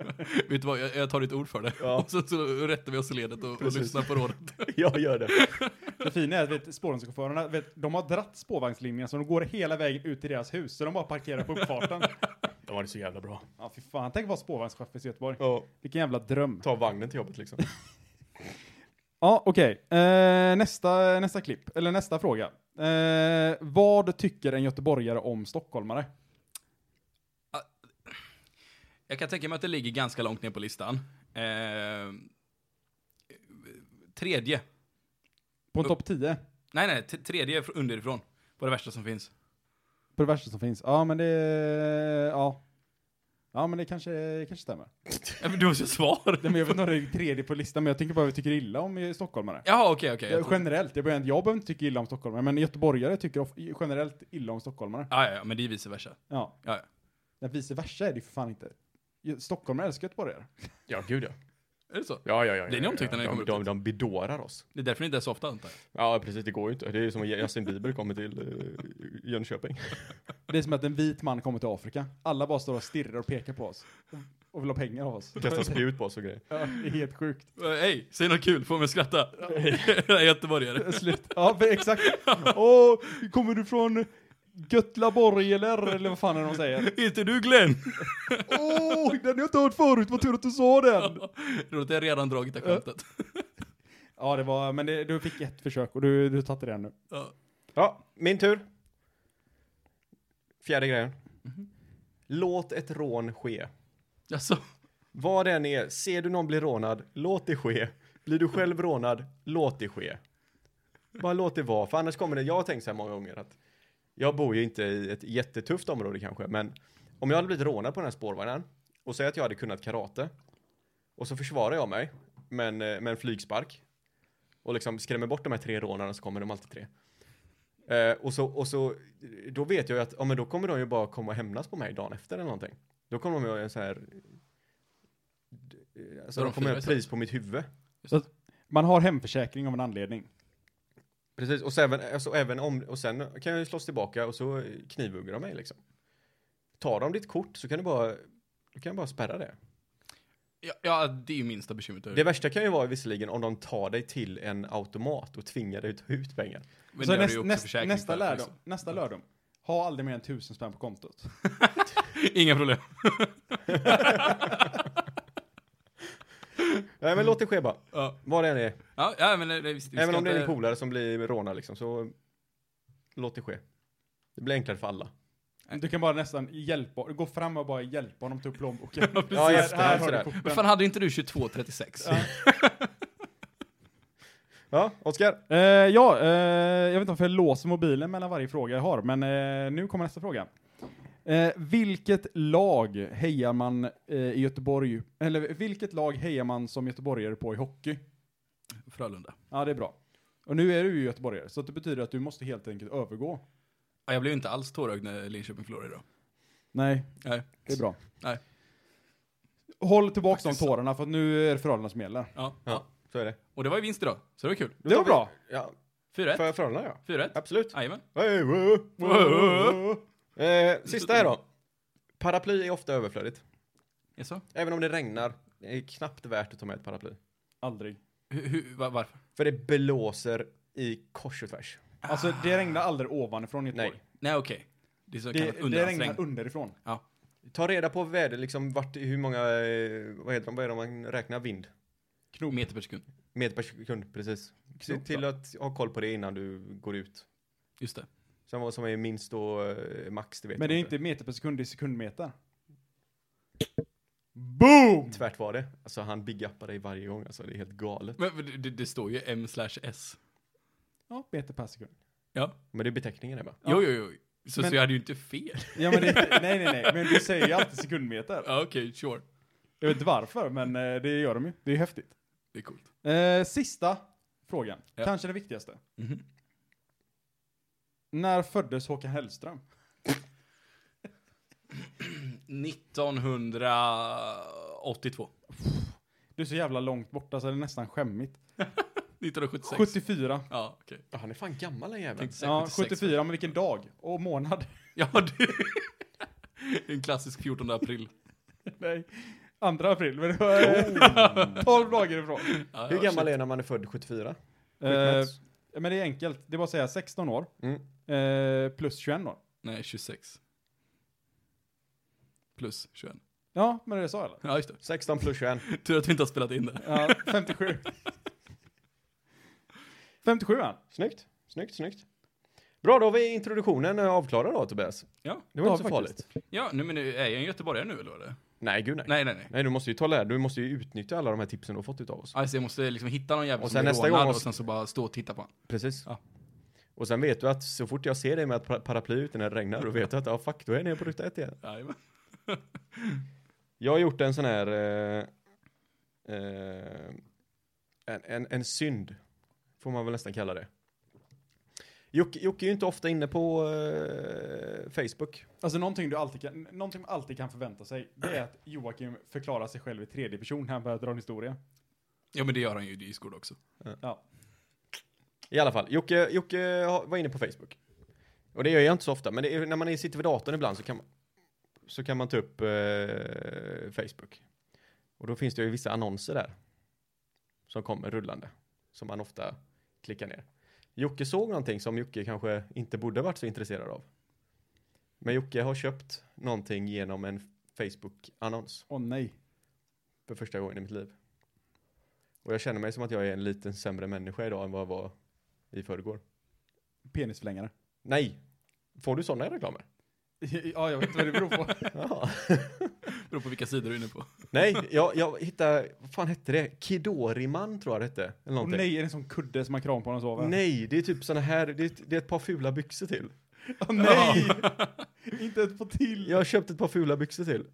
[SPEAKER 5] Vet du vad, jag, jag tar ditt ord för det.
[SPEAKER 3] Ja.
[SPEAKER 5] (laughs) Och så, så rättar vi oss i ledet och, och
[SPEAKER 3] Precis.
[SPEAKER 5] lyssnar på rådet.
[SPEAKER 3] jag gör det.
[SPEAKER 4] Det fina är att vet, spårvagnschaufförerna, vet, de har dratt spårvagnslinjen så de går hela vägen ut till deras hus, så de bara parkerar på (laughs) uppfarten.
[SPEAKER 3] Det var det så jävla bra.
[SPEAKER 4] ja, fy fan. Tänk att vara spårvagnschaufför i Göteborg.
[SPEAKER 3] Ja,
[SPEAKER 4] Vilken jävla dröm.
[SPEAKER 3] ta vagnen till jobbet liksom.
[SPEAKER 4] Ja, okej. Eh, nästa, nästa klipp, eller nästa fråga. Eh, vad tycker en göteborgare om stockholmare?
[SPEAKER 5] Jag kan tänka mig att det ligger ganska långt ner på listan. Eh, tredje.
[SPEAKER 4] På en topp 10?
[SPEAKER 5] Nej, nej, t- tredje fr- underifrån. Var det värsta som finns.
[SPEAKER 4] På det värsta som finns? Ja, men det... Ja. Ja, men det kanske, kanske stämmer.
[SPEAKER 5] Ja, men Du måste ju svar.
[SPEAKER 4] (laughs) Nej, men jag vet inte om det är tredje på listan, men jag tänker bara vad jag tycker illa om eh, stockholmare.
[SPEAKER 5] Jaha, okej, okej.
[SPEAKER 4] Eh, Generellt, jag behöver, jag behöver inte tycka illa om stockholmare, men göteborgare tycker of, generellt illa om stockholmare.
[SPEAKER 5] Ja, ja, ja, men det är vice versa.
[SPEAKER 4] Ja.
[SPEAKER 5] Ja, ja.
[SPEAKER 4] Men vice versa är det ju för fan inte. Ju- Stockholmare älskar göteborgare.
[SPEAKER 3] (laughs) Ja, gud ja.
[SPEAKER 5] Är det så?
[SPEAKER 3] Ja, ja, ja.
[SPEAKER 5] Blir ni
[SPEAKER 3] ja,
[SPEAKER 5] omtyckta
[SPEAKER 3] ja.
[SPEAKER 5] när ni kommer
[SPEAKER 3] de,
[SPEAKER 5] upp
[SPEAKER 3] de,
[SPEAKER 5] dit?
[SPEAKER 3] de bedårar oss.
[SPEAKER 5] Det är därför ni inte är så ofta antar jag.
[SPEAKER 3] Ja, precis. Det går ju inte. Det är ju som om Justin Bieber kommer till eh, Jönköping. (laughs)
[SPEAKER 4] Det är som att en vit man kommer till Afrika. Alla bara står och stirrar och pekar på oss. Och vill ha pengar av oss.
[SPEAKER 3] Kastar spjut på oss och grejer.
[SPEAKER 4] Ja, det är helt sjukt.
[SPEAKER 5] Eh, Hej, säg något kul, få mig att skratta. (laughs) Jag är göteborgare.
[SPEAKER 4] Slut. Ja, för- exakt. Åh, kommer du från Götlaborg eller, eller vad fan är det de säger?
[SPEAKER 5] Inte du Glenn? (laughs)
[SPEAKER 4] Åh, den har jag inte hört förut, vad tur att du sa den!
[SPEAKER 5] Roligt, jag har redan dragit det skämtet.
[SPEAKER 4] Ja, det var, men det, du fick ett försök och du, du tatte det nu.
[SPEAKER 5] Ja.
[SPEAKER 3] Ja, min tur. Fjärde grejen. Låt ett rån ske.
[SPEAKER 5] Jaså?
[SPEAKER 3] Vad det än är, ser du någon bli rånad, låt det ske. Blir du själv rånad, låt det ske. Bara låt det vara, för annars kommer det, jag har tänkt så här många gånger att jag bor ju inte i ett jättetufft område kanske, men om jag hade blivit rånad på den här spårvagnen och säger att jag hade kunnat karate och så försvarar jag mig med en, eh, med en flygspark och liksom skrämmer bort de här tre rånarna så kommer de alltid tre. Eh, och, så, och så, då vet jag ju att, ja men då kommer de ju bara komma och hämnas på mig dagen efter eller någonting. Då kommer de ju göra en så här, alltså
[SPEAKER 5] Då
[SPEAKER 3] de kommer göra
[SPEAKER 5] de flyger
[SPEAKER 3] ett
[SPEAKER 5] istället.
[SPEAKER 3] pris på mitt huvud.
[SPEAKER 4] Man har hemförsäkring av en anledning.
[SPEAKER 3] Precis, och, så även, alltså, även om, och sen kan jag ju slåss tillbaka och så knivhugger de mig liksom. Tar de ditt kort så kan du bara, du kan bara spärra det.
[SPEAKER 5] Ja, ja, det är ju minsta bekymret.
[SPEAKER 3] Det värsta kan ju vara visserligen om de tar dig till en automat och tvingar dig att ta ut pengar.
[SPEAKER 5] Men
[SPEAKER 4] Så
[SPEAKER 5] det har
[SPEAKER 4] näst,
[SPEAKER 5] du ju också
[SPEAKER 4] näst,
[SPEAKER 5] försäkring
[SPEAKER 4] nästa,
[SPEAKER 5] för,
[SPEAKER 4] lärdom,
[SPEAKER 5] liksom.
[SPEAKER 4] nästa lärdom. Ha aldrig mer än tusen spänn på kontot.
[SPEAKER 5] liksom. Inga problem.
[SPEAKER 3] Nej men låt det ske bara,
[SPEAKER 5] Mm. Ja,
[SPEAKER 3] vad det än är.
[SPEAKER 5] ja, ja men det, det, visst, vi
[SPEAKER 3] Även
[SPEAKER 5] ska
[SPEAKER 3] om det är din
[SPEAKER 5] inte-
[SPEAKER 3] polare som blir rånad liksom, så låt det ske. Det blir enklare för alla.
[SPEAKER 4] Du kan bara nästan hjälpa, gå fram och bara hjälpa honom, ta upp plånboken.
[SPEAKER 3] Ja, i efterhand
[SPEAKER 4] har du
[SPEAKER 3] sådär.
[SPEAKER 4] korten.
[SPEAKER 5] Men fan hade inte du 2236?
[SPEAKER 3] Ja, Oskar.
[SPEAKER 4] Eh, ja, eh, jag vet inte varför jag låser mobilen mellan varje fråga jag har, men eh, nu kommer nästa fråga. Eh, vilket lag hejar man eh, i Göteborg, eller vilket lag hejar man som göteborgare på i hockey?
[SPEAKER 5] Frölunda.
[SPEAKER 4] Ja, det är bra. Och nu är du ju göteborgare, så det betyder att du måste helt enkelt övergå.
[SPEAKER 5] Ja, jag blev ju inte alls tårögd när Linköping förlorade idag.
[SPEAKER 4] Nej,
[SPEAKER 5] Nej.
[SPEAKER 4] det är bra.
[SPEAKER 5] Nej.
[SPEAKER 4] Håll tillbaka de
[SPEAKER 5] Faktiskt så.
[SPEAKER 4] tårarna, för att nu är det Frölunda som gäller.
[SPEAKER 5] Ja, ja.
[SPEAKER 3] Ja, så är det.
[SPEAKER 5] Och det var ju vinst idag, så det var kul.
[SPEAKER 3] Då
[SPEAKER 4] Det
[SPEAKER 3] tar
[SPEAKER 4] var
[SPEAKER 3] vi- Ja,
[SPEAKER 4] bra.
[SPEAKER 5] 4-1.
[SPEAKER 3] för Frölunda ja.
[SPEAKER 5] 4-1.
[SPEAKER 3] Absolut.
[SPEAKER 5] Jajamän.
[SPEAKER 3] Hey, whoa, whoa, whoa. Eh, sista här då. Paraply är ofta överflödigt.
[SPEAKER 5] Jaså?
[SPEAKER 3] Även om det regnar, det är knappt värt att ta med ett paraply.
[SPEAKER 4] Aldrig.
[SPEAKER 5] Hur, hur, va- varför?
[SPEAKER 3] För det blåser i kors och tvärs.
[SPEAKER 4] Alltså, det regnar aldrig ovanifrån i Göteborg.
[SPEAKER 3] Nej.
[SPEAKER 5] Nej, okej. Det är så kallat
[SPEAKER 4] Det, det
[SPEAKER 5] underhandsregn.
[SPEAKER 4] regnar underifrån.
[SPEAKER 3] Ta reda på väder, liksom vart, hur många, eh, vad heter de, vad är det man räknar vind?
[SPEAKER 5] Meter per sekund.
[SPEAKER 3] Meter per sekund, precis. Se
[SPEAKER 4] Klokt,
[SPEAKER 3] till
[SPEAKER 4] ja.
[SPEAKER 3] att ha koll på det innan du går ut.
[SPEAKER 5] Just det.
[SPEAKER 3] Sen vad som är minst och eh, max, det vet
[SPEAKER 4] Men det
[SPEAKER 3] jag
[SPEAKER 4] är inte meter per sekund, det är sekundmeter. Boom!
[SPEAKER 3] Tvärt var det. Alltså han big-uppar dig varje gång, alltså det är helt galet.
[SPEAKER 5] Men men det, det står ju M slash S.
[SPEAKER 4] Ja, meter per sekund.
[SPEAKER 5] Ja.
[SPEAKER 3] Men det är beteckningen det bara.
[SPEAKER 5] Jo, jo, jo. Så,
[SPEAKER 4] Men-
[SPEAKER 5] så jag hade ju inte fel. (laughs)
[SPEAKER 4] Ja, men det, nej, nej, nej, men du säger ju alltid sekundmeter.
[SPEAKER 5] Ja, okej, sure.
[SPEAKER 4] Jag vet inte varför, men eh, det gör de ju. Det är ju häftigt.
[SPEAKER 5] Det är coolt.
[SPEAKER 4] Eh, sista frågan,
[SPEAKER 5] Ja.
[SPEAKER 4] kanske den viktigaste.
[SPEAKER 5] Mhm.
[SPEAKER 4] När föddes Håkan Hellström?
[SPEAKER 5] 1982.
[SPEAKER 4] Du är så jävla långt borta så det är nästan skämmigt.
[SPEAKER 5] 1976.
[SPEAKER 4] 74.
[SPEAKER 5] Ja, okej.
[SPEAKER 3] Ja, han är fan gammal den jäveln.
[SPEAKER 5] Tänkte säga
[SPEAKER 4] Ja,
[SPEAKER 5] 76.
[SPEAKER 4] 74, men vilken dag? Och månad?
[SPEAKER 5] (laughs)
[SPEAKER 4] (laughs)
[SPEAKER 5] Ja, du. (laughs) En klassisk 14 april.
[SPEAKER 4] Nej, 2 april. Men det (laughs) var 12 dagar ifrån.
[SPEAKER 5] Ja,
[SPEAKER 3] Hur
[SPEAKER 5] ja,
[SPEAKER 3] gammal
[SPEAKER 5] shit.
[SPEAKER 3] är när man är född 74?
[SPEAKER 4] Eh, men det är enkelt. Det är bara att säga 16 år.
[SPEAKER 3] Mm.
[SPEAKER 4] Eh, plus 21 år.
[SPEAKER 5] Nej, 26. Plus 21.
[SPEAKER 4] Ja, men det sa jag eller?
[SPEAKER 5] Ja, just
[SPEAKER 3] 16 plus 21.
[SPEAKER 5] det. Tur att vi inte har spelat in det.
[SPEAKER 4] Ja, 57. 57 är han.
[SPEAKER 3] Snyggt, snyggt, snyggt. Bra, då har vi introduktionen eh, avklarad då Tobias.
[SPEAKER 5] Ja,
[SPEAKER 3] Det var
[SPEAKER 4] Ja,
[SPEAKER 3] inte så
[SPEAKER 4] faktiskt.
[SPEAKER 3] farligt.
[SPEAKER 5] ja nu, men nu är jag en göteborgare nu eller vad är det?
[SPEAKER 3] Nej, gud nej. nej.
[SPEAKER 5] Nej, nej, nej.
[SPEAKER 3] du måste ju ta lär, du måste ju utnyttja alla de här tipsen du har fått utav oss.
[SPEAKER 5] Alltså jag måste liksom hitta någon jävel
[SPEAKER 3] Och
[SPEAKER 5] som
[SPEAKER 3] sen
[SPEAKER 5] blir
[SPEAKER 3] nästa
[SPEAKER 5] rånad
[SPEAKER 3] gång
[SPEAKER 5] och
[SPEAKER 3] måste-
[SPEAKER 5] sen så bara stå och titta på honom.
[SPEAKER 3] Precis.
[SPEAKER 5] Ja.
[SPEAKER 3] Och sen vet du att så fort jag ser dig med ett par- paraply ute när det regnar, då vet du att ja, fuck, då är jag nere på ruta ett igen.
[SPEAKER 5] Jajamän.
[SPEAKER 3] Jag har gjort en sån här... Eh, eh, en, en, en synd, får man väl nästan kalla det. Jocke, Jocke är ju inte ofta inne på eh, Facebook.
[SPEAKER 4] Alltså någonting du alltid kan, någonting man alltid kan förvänta sig, det är att Joakim förklarar sig själv i tredje person när han börjar dra en historia.
[SPEAKER 5] Ja men det gör han ju i Discord också.
[SPEAKER 3] I alla fall, Jocke, Jocke har- var inne på Facebook. Och det gör jag inte så ofta, men det är, när man är- sitter vid datorn ibland så kan man, så kan man ta upp eh, Facebook. Och då finns det ju vissa annonser där. Som kommer rullande. Som man ofta klickar ner. Jocke såg någonting som Jocke kanske inte borde varit så intresserad av. Men Jocke har köpt någonting genom en Facebook-annons
[SPEAKER 4] Åh nej.
[SPEAKER 3] för första gången i mitt liv. Och jag känner mig som att jag är en liten sämre människa idag än vad jag var i förrgår.
[SPEAKER 4] Penisförlängare.
[SPEAKER 3] Nej. Får du sådana reklamer?
[SPEAKER 4] ja, jag vet inte vad det beror på.
[SPEAKER 3] Ja.
[SPEAKER 5] Beror på vilka sidor du är inne på.
[SPEAKER 3] (laughs) Nej, jag, jag hittade, vad fan hette det? Kidoriman tror jag det hette. Eller
[SPEAKER 4] Åh
[SPEAKER 3] någonting.
[SPEAKER 4] nej, är det en sån kudde som man kramar på när man sover?
[SPEAKER 3] Nej, det är typ sådana här, det är, det är ett par fula byxor till.
[SPEAKER 4] Åh nej! (laughs) inte ett på till.
[SPEAKER 3] Jag har köpt ett par fula byxor till.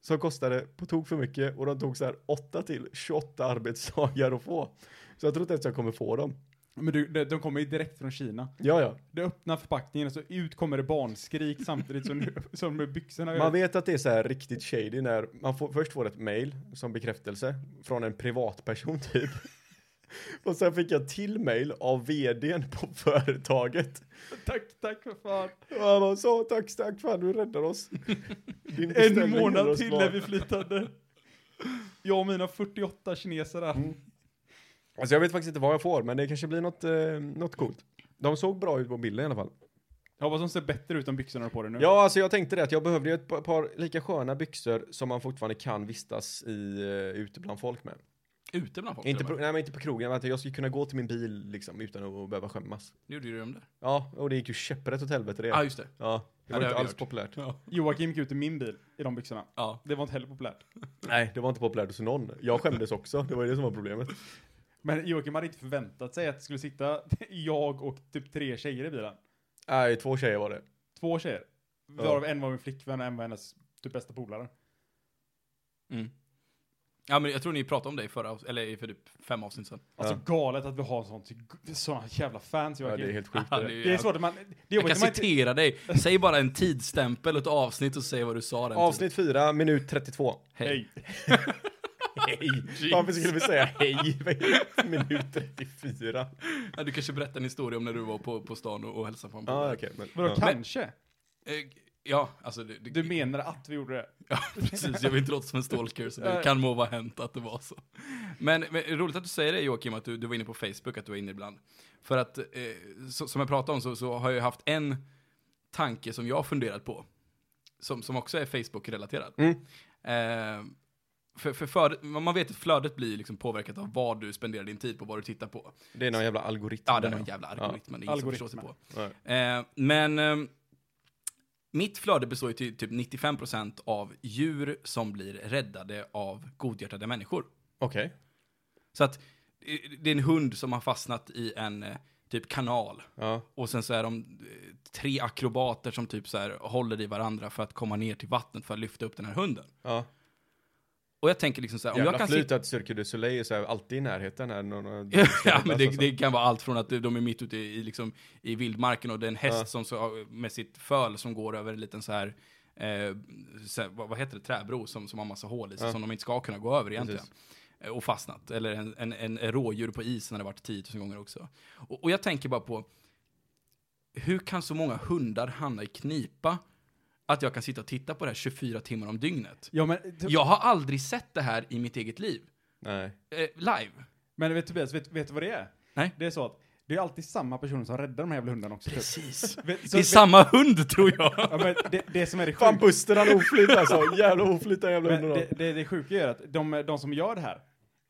[SPEAKER 3] Som kostade på tok för mycket och de tog så här 8 till 28 arbetsdagar att få. Så jag tror inte ens jag kommer få dem.
[SPEAKER 4] Men du, de, de kommer ju direkt från Kina.
[SPEAKER 3] Ja, ja.
[SPEAKER 4] Du öppnar förpackningen och så ut kommer det barnskrik samtidigt som, (laughs) som med byxorna
[SPEAKER 3] Man vet att det är så här riktigt shady när man får, först får ett mail som bekräftelse från en privatperson (laughs) typ. Och sen fick jag till mail av vdn på företaget.
[SPEAKER 4] Tack, tack för fan.
[SPEAKER 3] Och han bara så tack, tack fan du räddar
[SPEAKER 4] (laughs)
[SPEAKER 3] oss. Din
[SPEAKER 4] En
[SPEAKER 3] beställning räddar
[SPEAKER 4] månad
[SPEAKER 3] oss
[SPEAKER 4] till
[SPEAKER 3] kvar."
[SPEAKER 4] är vi flytande. Jag och mina 48 kineser där.
[SPEAKER 3] Mm. Alltså jag vet faktiskt inte vad jag får men det kanske blir något, eh, något coolt. De såg bra ut på bilden i alla fall.
[SPEAKER 4] Jag hoppas de ser bättre ut än byxorna på dig nu.
[SPEAKER 3] Ja, alltså jag tänkte det att jag behövde ju ett par, par lika sköna byxor som man fortfarande kan vistas i eh, ute bland folk med.
[SPEAKER 5] Ute bland folk.
[SPEAKER 3] Inte på,
[SPEAKER 5] grabbar.
[SPEAKER 3] nej, men inte på krogen, att jag skulle kunna gå till min bil liksom utan att behöva skämmas.
[SPEAKER 5] Nu gjorde ju de där.
[SPEAKER 3] Ja, och det gick ju käpprätt åt helvete det.
[SPEAKER 5] Ja ah, just det.
[SPEAKER 3] Ja, det
[SPEAKER 5] Ja,
[SPEAKER 3] var
[SPEAKER 5] det har
[SPEAKER 3] inte
[SPEAKER 5] vi
[SPEAKER 3] alls
[SPEAKER 5] hört.
[SPEAKER 3] populärt.
[SPEAKER 5] Ja.
[SPEAKER 4] Joakim gick ut i min bil i de byxorna.
[SPEAKER 5] ja.
[SPEAKER 4] Det var inte heller populärt.
[SPEAKER 3] Nej, det var inte populärt hos någon. Jag skämdes också, det var ju det som var problemet.
[SPEAKER 4] Men Joakim hade inte förväntat sig att det skulle sitta (laughs) jag och typ tre tjejer i bilen.
[SPEAKER 3] Nej, två tjejer var det.
[SPEAKER 4] Två tjejer.
[SPEAKER 3] Ja.
[SPEAKER 4] Varav en var min flickvän och en var hennes typ bästa polare.
[SPEAKER 5] Mm. Ja men jag tror ni pratade om det i förra, avs- eller i för typ fem avsnitt sedan.
[SPEAKER 4] Alltså
[SPEAKER 3] Ja.
[SPEAKER 4] galet att vi har sånt, såna jävla fans
[SPEAKER 3] Ja,
[SPEAKER 4] Joakim.
[SPEAKER 3] det är helt sjukt.
[SPEAKER 5] Ja,
[SPEAKER 3] det.
[SPEAKER 5] det är-
[SPEAKER 4] Det är svårt att man... Det är
[SPEAKER 5] Jag kan
[SPEAKER 4] jobbigt att man inte...
[SPEAKER 5] citera dig. Säg bara en tidsstämpel och ett avsnitt och säg vad du sa den tiden.
[SPEAKER 3] Avsnitt 4, minut 32.
[SPEAKER 5] Hej.
[SPEAKER 4] Hej.
[SPEAKER 3] Hej! (laughs) Varför skulle vi säga hej? (laughs) Minut 34.
[SPEAKER 5] Ja, du kanske berättar en historia om när du var på, på stan och, och hälsade på en
[SPEAKER 3] Ja,
[SPEAKER 5] polare.
[SPEAKER 3] okej. men-
[SPEAKER 4] Vadå,
[SPEAKER 3] ja.
[SPEAKER 4] kanske?
[SPEAKER 5] Eh, Ja, alltså det, det,
[SPEAKER 4] Du menar att vi gjorde det?
[SPEAKER 5] (laughs) Ja, precis. Jag vill inte låta som en stalker, så det
[SPEAKER 4] Nej.
[SPEAKER 5] kan må vara hänt att det var så. Men, men roligt att du säger det Joakim, att du, du var inne på Facebook, att du är inne ibland. För att, eh, så, som jag pratade om, så, så har jag haft en tanke som jag har funderat på. Som, som också är Facebook-relaterad.
[SPEAKER 3] Mm.
[SPEAKER 5] Eh, för, för, för, man vet att flödet blir liksom påverkat av vad du spenderar din tid på, vad du tittar på.
[SPEAKER 3] Det är någon jävla algoritm.
[SPEAKER 5] Ja, det
[SPEAKER 3] där,
[SPEAKER 5] var en jävla
[SPEAKER 3] Ja.
[SPEAKER 5] algoritm. men Det är ingen som förstår sig
[SPEAKER 4] Algoritmen.
[SPEAKER 5] på. Eh, men eh, mitt flöde består ju till typ 95% av djur som blir räddade av godhjärtade människor.
[SPEAKER 3] Okej.
[SPEAKER 5] Så att eh, det är en hund som har fastnat i en eh, typ kanal.
[SPEAKER 3] Ja.
[SPEAKER 5] Och sen så är de eh, tre akrobater som typ så här håller i varandra för att komma ner till vattnet för att lyfta upp den här hunden.
[SPEAKER 3] ja.
[SPEAKER 5] Och jag tänker liksom så här, om
[SPEAKER 3] Jävla
[SPEAKER 5] jag kan
[SPEAKER 3] flyt
[SPEAKER 5] sitta...
[SPEAKER 3] att Cirque du Soleil är så här, alltid i närheten här. Någon, någon,
[SPEAKER 5] (laughs) ja,
[SPEAKER 3] alltså
[SPEAKER 5] men det, det kan vara allt från att de är mitt ute i, i liksom, i vildmarken och det är en häst
[SPEAKER 3] Ja.
[SPEAKER 5] som så, med sitt föl som går över en liten så här, eh, så här vad, vad heter det, träbro som, som har massa hål i sig
[SPEAKER 3] Ja.
[SPEAKER 5] som de inte ska kunna gå över egentligen.
[SPEAKER 3] Precis.
[SPEAKER 5] Eh, Och fastnat. Eller en, en, en rådjur på isen har det varit 10 000 gånger också. Och, och jag tänker bara på, hur kan så många hundar hamna i knipa att jag kan sitta och titta på det här 24 timmar om dygnet?
[SPEAKER 4] Ja, men,
[SPEAKER 5] Jag har aldrig sett det här i mitt eget liv.
[SPEAKER 3] Nej.
[SPEAKER 5] Eh, live.
[SPEAKER 4] men vet, Tobias, vet, vet du vad det är?
[SPEAKER 5] Nej.
[SPEAKER 4] Det är så att det är alltid samma personer som räddar de här jävla hundarna också. typ.
[SPEAKER 5] Precis.
[SPEAKER 4] Vet- så-
[SPEAKER 5] det är
[SPEAKER 4] vet-
[SPEAKER 5] samma hund tror jag.
[SPEAKER 4] Ja, men det, det som är det
[SPEAKER 3] Fan
[SPEAKER 4] sjuka,
[SPEAKER 3] Buster han oflyt alltså. Jävla oflyt den jävla
[SPEAKER 4] men
[SPEAKER 3] hunden.
[SPEAKER 4] det,
[SPEAKER 3] har.
[SPEAKER 4] det, det sjuka är att de, de som gör det här,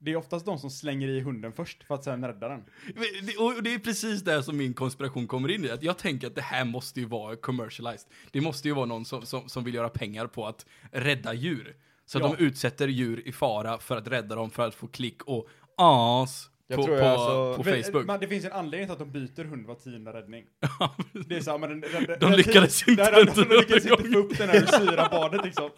[SPEAKER 4] det är oftast de som slänger i hunden först för att sen rädda den.
[SPEAKER 5] (laughs) Men det- Och det är precis där som min konspiration kommer in i. Att jag tänker att det här måste ju vara commercialized. Det måste ju vara någon som, som, som vill göra pengar på att rädda djur. Så att
[SPEAKER 4] Ja.
[SPEAKER 5] de utsätter djur i fara för att rädda dem för att få klick och as på,
[SPEAKER 3] Jag
[SPEAKER 5] på,
[SPEAKER 3] tror jag alltså-
[SPEAKER 5] på
[SPEAKER 4] Men- eh,
[SPEAKER 5] Facebook.
[SPEAKER 4] Men det finns en anledning till att de byter hund var tionde räddning.
[SPEAKER 5] (laughs) Ja, precis.
[SPEAKER 4] Det är så här, men den, den,
[SPEAKER 5] lyckades inte
[SPEAKER 4] den, den,
[SPEAKER 5] rädda
[SPEAKER 4] de lyckades
[SPEAKER 5] den
[SPEAKER 4] inte få upp den här ur syrabadet liksom.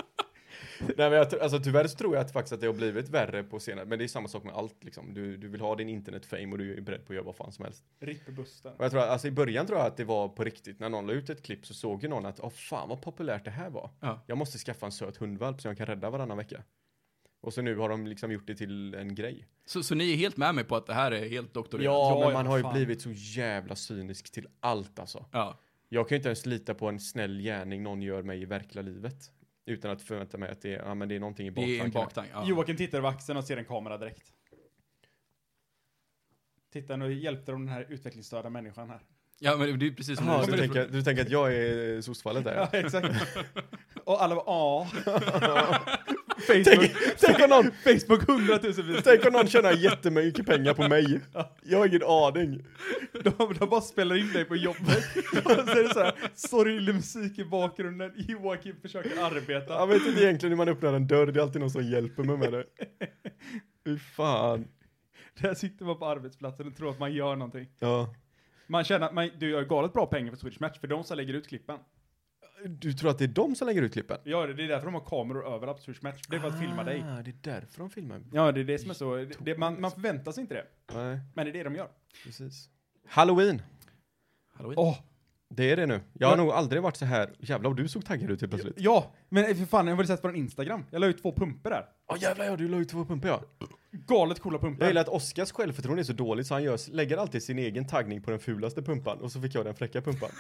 [SPEAKER 3] Nej men jag, tror- alltså, tyvärr så tror jag att faktiskt att det har blivit värre på senare, men det är samma sak med allt liksom. Du, du vill ha din internet-fame och du är beredd på att göra vad fan som helst.
[SPEAKER 4] Ripp busten.
[SPEAKER 3] Och jag tror, att- alltså i början tror jag att det var på riktigt, när någon la ut ett klipp så såg ju någon att, åh fan vad populärt det här var.
[SPEAKER 5] Ja.
[SPEAKER 3] Jag måste skaffa en söt hundvalp så jag kan rädda varannan vecka. Och så nu har de liksom gjort det till en grej.
[SPEAKER 5] Så, så ni är helt med mig på att det här är helt doktorerat?
[SPEAKER 3] Ja,
[SPEAKER 4] ja,
[SPEAKER 3] men man har ju
[SPEAKER 4] fan.
[SPEAKER 3] blivit så jävla cynisk till allt alltså.
[SPEAKER 5] ja.
[SPEAKER 3] Jag kan ju inte ens lita på en snäll gärning någon gör mig i verkliga livet. Utan att förvänta mig att det är, ja, men det är någonting i
[SPEAKER 5] Det är en
[SPEAKER 3] baktanken.
[SPEAKER 5] baktank. Ja.
[SPEAKER 4] Joakim tittar över axeln och ser en kamera direkt. Titta, nu hjälpte de den här utvecklingsstörda människan här.
[SPEAKER 5] ja, men det är ju precis som
[SPEAKER 3] Ja,
[SPEAKER 5] du
[SPEAKER 3] du, tänker, du tänker att jag är eh, sossfallet där?
[SPEAKER 4] Ja,
[SPEAKER 3] ja.
[SPEAKER 4] exakt. Och alla bara (laughs) ja.
[SPEAKER 3] Tänk, tänk, om någon,
[SPEAKER 4] Facebook hundratusenvis.
[SPEAKER 3] tänk om någon tjänar jättemycket pengar på mig. Jag har ingen aning.
[SPEAKER 4] De, de bara spelar in dig på jobbet. Och så är det så här sorglig musik i bakgrunden. Joakim försöker arbeta.
[SPEAKER 3] Jag vet inte egentligen hur man öppnar en dörr, det är alltid någon som hjälper mig med det. Fy fan.
[SPEAKER 4] Där sitter man på arbetsplatsen och tror att man gör någonting.
[SPEAKER 3] Ja.
[SPEAKER 4] Man känner att man, du gör galet bra pengar på Swedish Match, för de som lägger ut klippen.
[SPEAKER 3] Du tror att det är de som lägger ut klippen?
[SPEAKER 4] Ja, det är därför de har kameror överallt på Swedish Match. Det är för att filma dig.
[SPEAKER 3] Ah, det är därför de filmar.
[SPEAKER 4] Ja, det är det som är så. Det, det, man, man förväntar sig inte det.
[SPEAKER 3] Nej,
[SPEAKER 4] Men det är det de gör.
[SPEAKER 3] precis. Halloween.
[SPEAKER 5] Halloween.
[SPEAKER 4] Åh,
[SPEAKER 3] Det är det nu. Jag har
[SPEAKER 4] Ja.
[SPEAKER 3] nog aldrig varit så här. Jävlar vad du såg taggad ut helt plötsligt.
[SPEAKER 4] ja, men för fan, jag har väl sett på en Instagram. Jag la ut två pumper där.
[SPEAKER 3] Ja jävlar ja, du la ut två pumpor ja.
[SPEAKER 4] Galet coola pumper.
[SPEAKER 3] Jag gillar att Oskars självförtroende är så dåligt så han gör, lägger alltid sin egen taggning på den fulaste pumpan och så fick jag den fräcka (laughs) pumpan.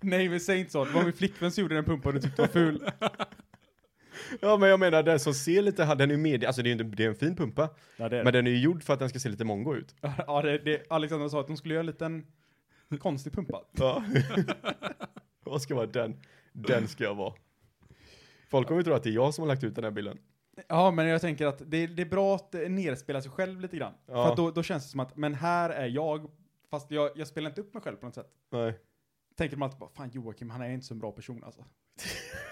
[SPEAKER 4] Nej, men säg inte så. Det var min flickvän som gjorde den pumpan och du tyckte var ful.
[SPEAKER 3] Ja men jag menar den som ser lite, den är ju med, alltså det är ju inte, det är en fin pumpa.
[SPEAKER 4] (laughs) Ja, det är
[SPEAKER 3] Men den är ju gjord för att den ska se lite mongo ut.
[SPEAKER 4] Ja, det, det, Alexander sa att de skulle göra en liten konstig pumpa.
[SPEAKER 3] Ja. (laughs) Vad ska vara den? Den ska jag vara. Folk kommer ju tro att det är jag som har lagt ut den här bilden.
[SPEAKER 4] Ja, men jag tänker att det, det är bra att eh, nerspela sig själv lite grann.
[SPEAKER 3] Ja.
[SPEAKER 4] För att då, då känns det som att, men här är jag, fast jag, jag spelar inte upp mig själv på något sätt.
[SPEAKER 3] Nej.
[SPEAKER 4] Tänker man alltid bara, fan Joakim, han är inte så en bra person alltså.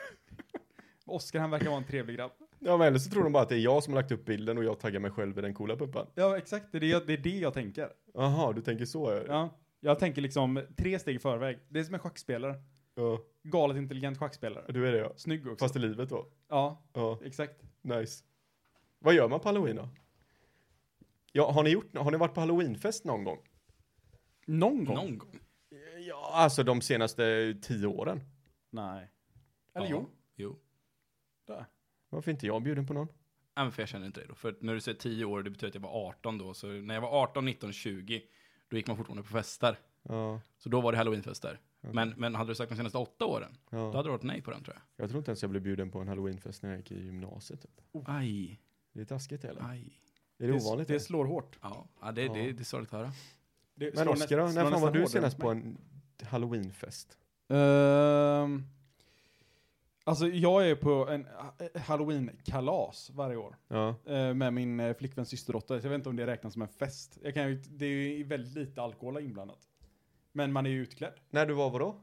[SPEAKER 4] (laughs) Oskar, han verkar vara en trevlig grabb.
[SPEAKER 3] Ja men eller så tror de bara att det är jag som har lagt upp bilden och jag taggar mig själv i den coola pumpan.
[SPEAKER 4] Ja, exakt. Det är det, jag- det, är det jag tänker.
[SPEAKER 3] Jaha, du tänker så ja.
[SPEAKER 4] Ja. Jag tänker liksom tre steg i förväg. Det är som en schackspelare.
[SPEAKER 3] ja.
[SPEAKER 4] Galet intelligent schackspelare.
[SPEAKER 3] Du är det ja.
[SPEAKER 4] Snygg också.
[SPEAKER 3] Fast i livet då.
[SPEAKER 4] Ja,
[SPEAKER 3] Ja,
[SPEAKER 4] exakt.
[SPEAKER 3] nice. Vad gör man på halloween då? Ja, har ni gjort, har ni varit på halloweenfest någon gång?
[SPEAKER 4] Någon gång?
[SPEAKER 5] Någon gång.
[SPEAKER 3] Ja, alltså de senaste tio åren.
[SPEAKER 4] Nej. Eller
[SPEAKER 5] Ja.
[SPEAKER 4] jo.
[SPEAKER 5] Jo.
[SPEAKER 3] Varför inte jag bjuden på någon?
[SPEAKER 5] Nej, men för jag känner inte det då. För att när du säger 10 år, det betyder att jag var 18 då. Så när jag var 18, 19, 20, då gick man fortfarande på fester.
[SPEAKER 3] Ja,
[SPEAKER 5] Så då var det halloweenfester. Men, men hade du sagt de senaste åtta åren, då
[SPEAKER 3] ja.
[SPEAKER 5] hade det varit nej på den tror jag.
[SPEAKER 3] Jag tror inte ens jag blev bjuden på en halloweenfest när jag gick i gymnasiet. Typ.
[SPEAKER 5] Aj,
[SPEAKER 3] Det är taskigt eller?
[SPEAKER 5] aj.
[SPEAKER 3] Är det, ovanligt?
[SPEAKER 4] Det,
[SPEAKER 3] eller?
[SPEAKER 4] det slår hårt.
[SPEAKER 5] Ja, ja det,
[SPEAKER 3] Ja.
[SPEAKER 5] det, det är sorgligt att höra.
[SPEAKER 4] Det
[SPEAKER 3] Men
[SPEAKER 4] slår nä-
[SPEAKER 3] Oskar då?
[SPEAKER 4] slår
[SPEAKER 3] När fan
[SPEAKER 4] nästan
[SPEAKER 3] var du
[SPEAKER 4] hårdare
[SPEAKER 3] senast
[SPEAKER 4] mot
[SPEAKER 3] på
[SPEAKER 4] mig.
[SPEAKER 3] en halloweenfest?
[SPEAKER 4] Ehm, alltså jag är på en ha- halloween-kalas varje år
[SPEAKER 3] Ja,
[SPEAKER 4] eh, med min eh, flickväns systerdotter. Så jag vet inte om det räknas som en fest. Jag kan, ju- det är ju väldigt lite alkohol inblandat. Men man är ju utklädd.
[SPEAKER 3] När du var vadå?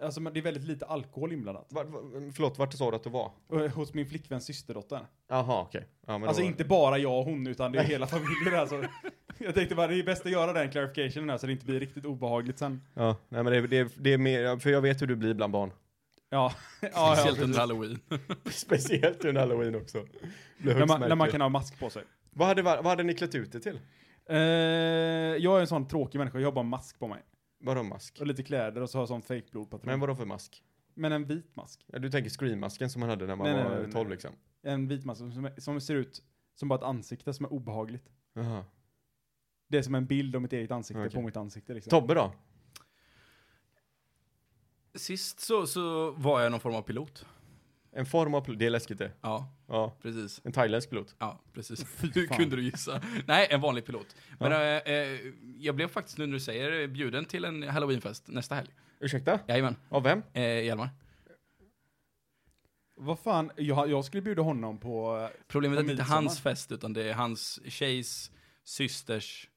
[SPEAKER 4] Alltså men det är väldigt lite alkohol inblandat.
[SPEAKER 3] Var, var, förlåt, vart sa du att du var?
[SPEAKER 4] Och, eh, Hos min flickväns systerdotter.
[SPEAKER 3] Jaha, okej. Ja, men då
[SPEAKER 4] Alltså
[SPEAKER 3] var-
[SPEAKER 4] inte bara jag och hon utan det är hela familjen alltså. (laughs) Jag tänkte bara det är bäst att göra den clarificationen här så det inte blir riktigt obehagligt sen.
[SPEAKER 3] Ja, nej men det, det, det är mer, för jag vet hur du blir bland barn. (laughs)
[SPEAKER 4] Ja, (laughs) ja, ja
[SPEAKER 5] Speciellt
[SPEAKER 4] precis.
[SPEAKER 5] under halloween. (laughs)
[SPEAKER 3] Speciellt under halloween också. Blir
[SPEAKER 4] när,
[SPEAKER 3] högst
[SPEAKER 4] man, när man
[SPEAKER 3] märklig.
[SPEAKER 4] kan ha mask på sig.
[SPEAKER 3] vad, hade, vad hade ni klätt ut det till?
[SPEAKER 4] Eh, jag är en sån tråkig människa, jag har bara mask på mig.
[SPEAKER 3] Vadå mask?
[SPEAKER 4] Och lite kläder och så har jag sån fake blodpatron.
[SPEAKER 3] Men
[SPEAKER 4] Men,
[SPEAKER 3] vadå för mask?
[SPEAKER 4] en vit mask.
[SPEAKER 3] Ja, du tänker screammasken som man hade när man
[SPEAKER 4] Nej, nej,
[SPEAKER 3] var
[SPEAKER 4] nej, nej.
[SPEAKER 3] 12 liksom?
[SPEAKER 4] En vit mask som, är- som ser ut som bara ett ansikte som är obehagligt.
[SPEAKER 3] Jaha.
[SPEAKER 4] Det är som en bild av mitt eget ansikte
[SPEAKER 3] Okej.
[SPEAKER 4] på mitt ansikte liksom.
[SPEAKER 3] Tobbe då?
[SPEAKER 5] Sist så, så var jag någon form av pilot.
[SPEAKER 3] En form av pilot, det är läskigt det.
[SPEAKER 5] Ja,
[SPEAKER 3] Ja,
[SPEAKER 5] precis.
[SPEAKER 3] en thailändsk pilot.
[SPEAKER 5] Ja, precis.
[SPEAKER 4] Fy
[SPEAKER 5] Hur
[SPEAKER 4] fan.
[SPEAKER 5] kunde du gissa? Nej, en vanlig pilot. Men eh, eh, jag blev faktiskt, nu när du säger det, bjuden till en halloweenfest nästa helg.
[SPEAKER 3] Ursäkta?
[SPEAKER 5] Jajamän,
[SPEAKER 3] Av vem?
[SPEAKER 5] eh, Hjalmar.
[SPEAKER 4] Vad fan, jag, jag skulle bjuda honom på... eh,
[SPEAKER 5] Problemet är att det inte är
[SPEAKER 4] Midsommar.
[SPEAKER 5] hans fest, utan det är hans tjejs systers...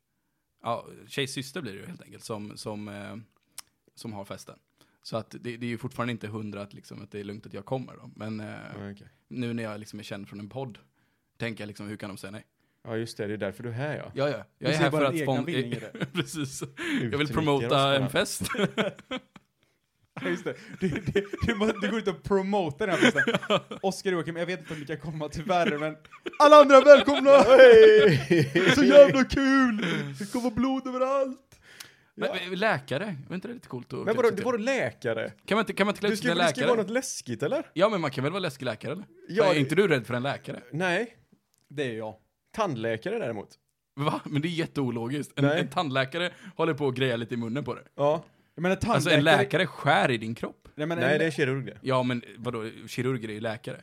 [SPEAKER 5] Ja, tjejs syster blir det ju helt enkelt, som, som, eh, som har festen. Så att det, det är ju fortfarande inte hundra att, liksom, att det är lugnt att jag kommer då. Men eh,
[SPEAKER 3] Ja, okej.
[SPEAKER 5] nu när jag liksom är känd från en podd, tänker jag liksom, hur kan de säga nej?
[SPEAKER 3] ja just det, det är därför du är här ja.
[SPEAKER 5] Ja, ja,
[SPEAKER 4] Du
[SPEAKER 5] jag är
[SPEAKER 4] ser
[SPEAKER 5] här
[SPEAKER 4] bara
[SPEAKER 5] för
[SPEAKER 4] din
[SPEAKER 5] att
[SPEAKER 4] egna
[SPEAKER 5] (laughs) spon-
[SPEAKER 4] vinning i det.
[SPEAKER 5] Precis. Jag
[SPEAKER 3] Utnyttjar (laughs)
[SPEAKER 5] vill
[SPEAKER 3] oss bara.
[SPEAKER 5] promota en fest.
[SPEAKER 4] Ja, just det. Du, du, du, måste, du går ut och promotar den här festen. (laughs) Oskar och Joakim, jag vet inte om ni kan komma tyvärr, men alla andra
[SPEAKER 3] (laughs)
[SPEAKER 4] är välkomna! Det är så jävla kul! Det kommer blod överallt!
[SPEAKER 5] Men, men, läkare, var inte det lite coolt? Att
[SPEAKER 3] Men vadå,
[SPEAKER 5] klä sig
[SPEAKER 3] du var läkare?
[SPEAKER 5] till? Kan man inte, kan man inte klä
[SPEAKER 3] Du
[SPEAKER 5] ut sig
[SPEAKER 3] ska,
[SPEAKER 5] till
[SPEAKER 3] det
[SPEAKER 5] en
[SPEAKER 3] ska ju vara
[SPEAKER 5] läkare?
[SPEAKER 3] något läskigt eller?
[SPEAKER 5] Ja, men man kan väl vara läskig läkare eller?
[SPEAKER 3] Ja,
[SPEAKER 5] är
[SPEAKER 3] det-
[SPEAKER 5] inte du rädd för en läkare?
[SPEAKER 3] Nej,
[SPEAKER 4] Det är jag.
[SPEAKER 3] tandläkare däremot.
[SPEAKER 5] Va? Men det är jätteologiskt. En,
[SPEAKER 3] Nej.
[SPEAKER 5] en tandläkare håller på att greja lite i munnen på dig.
[SPEAKER 3] Ja.
[SPEAKER 4] Jag menar tandläkare...
[SPEAKER 5] Alltså en läkare skär i din kropp.
[SPEAKER 4] Nej, men
[SPEAKER 3] Nej,
[SPEAKER 4] en,
[SPEAKER 3] det är kirurg det.
[SPEAKER 5] Ja, men vadå, kirurger är ju läkare.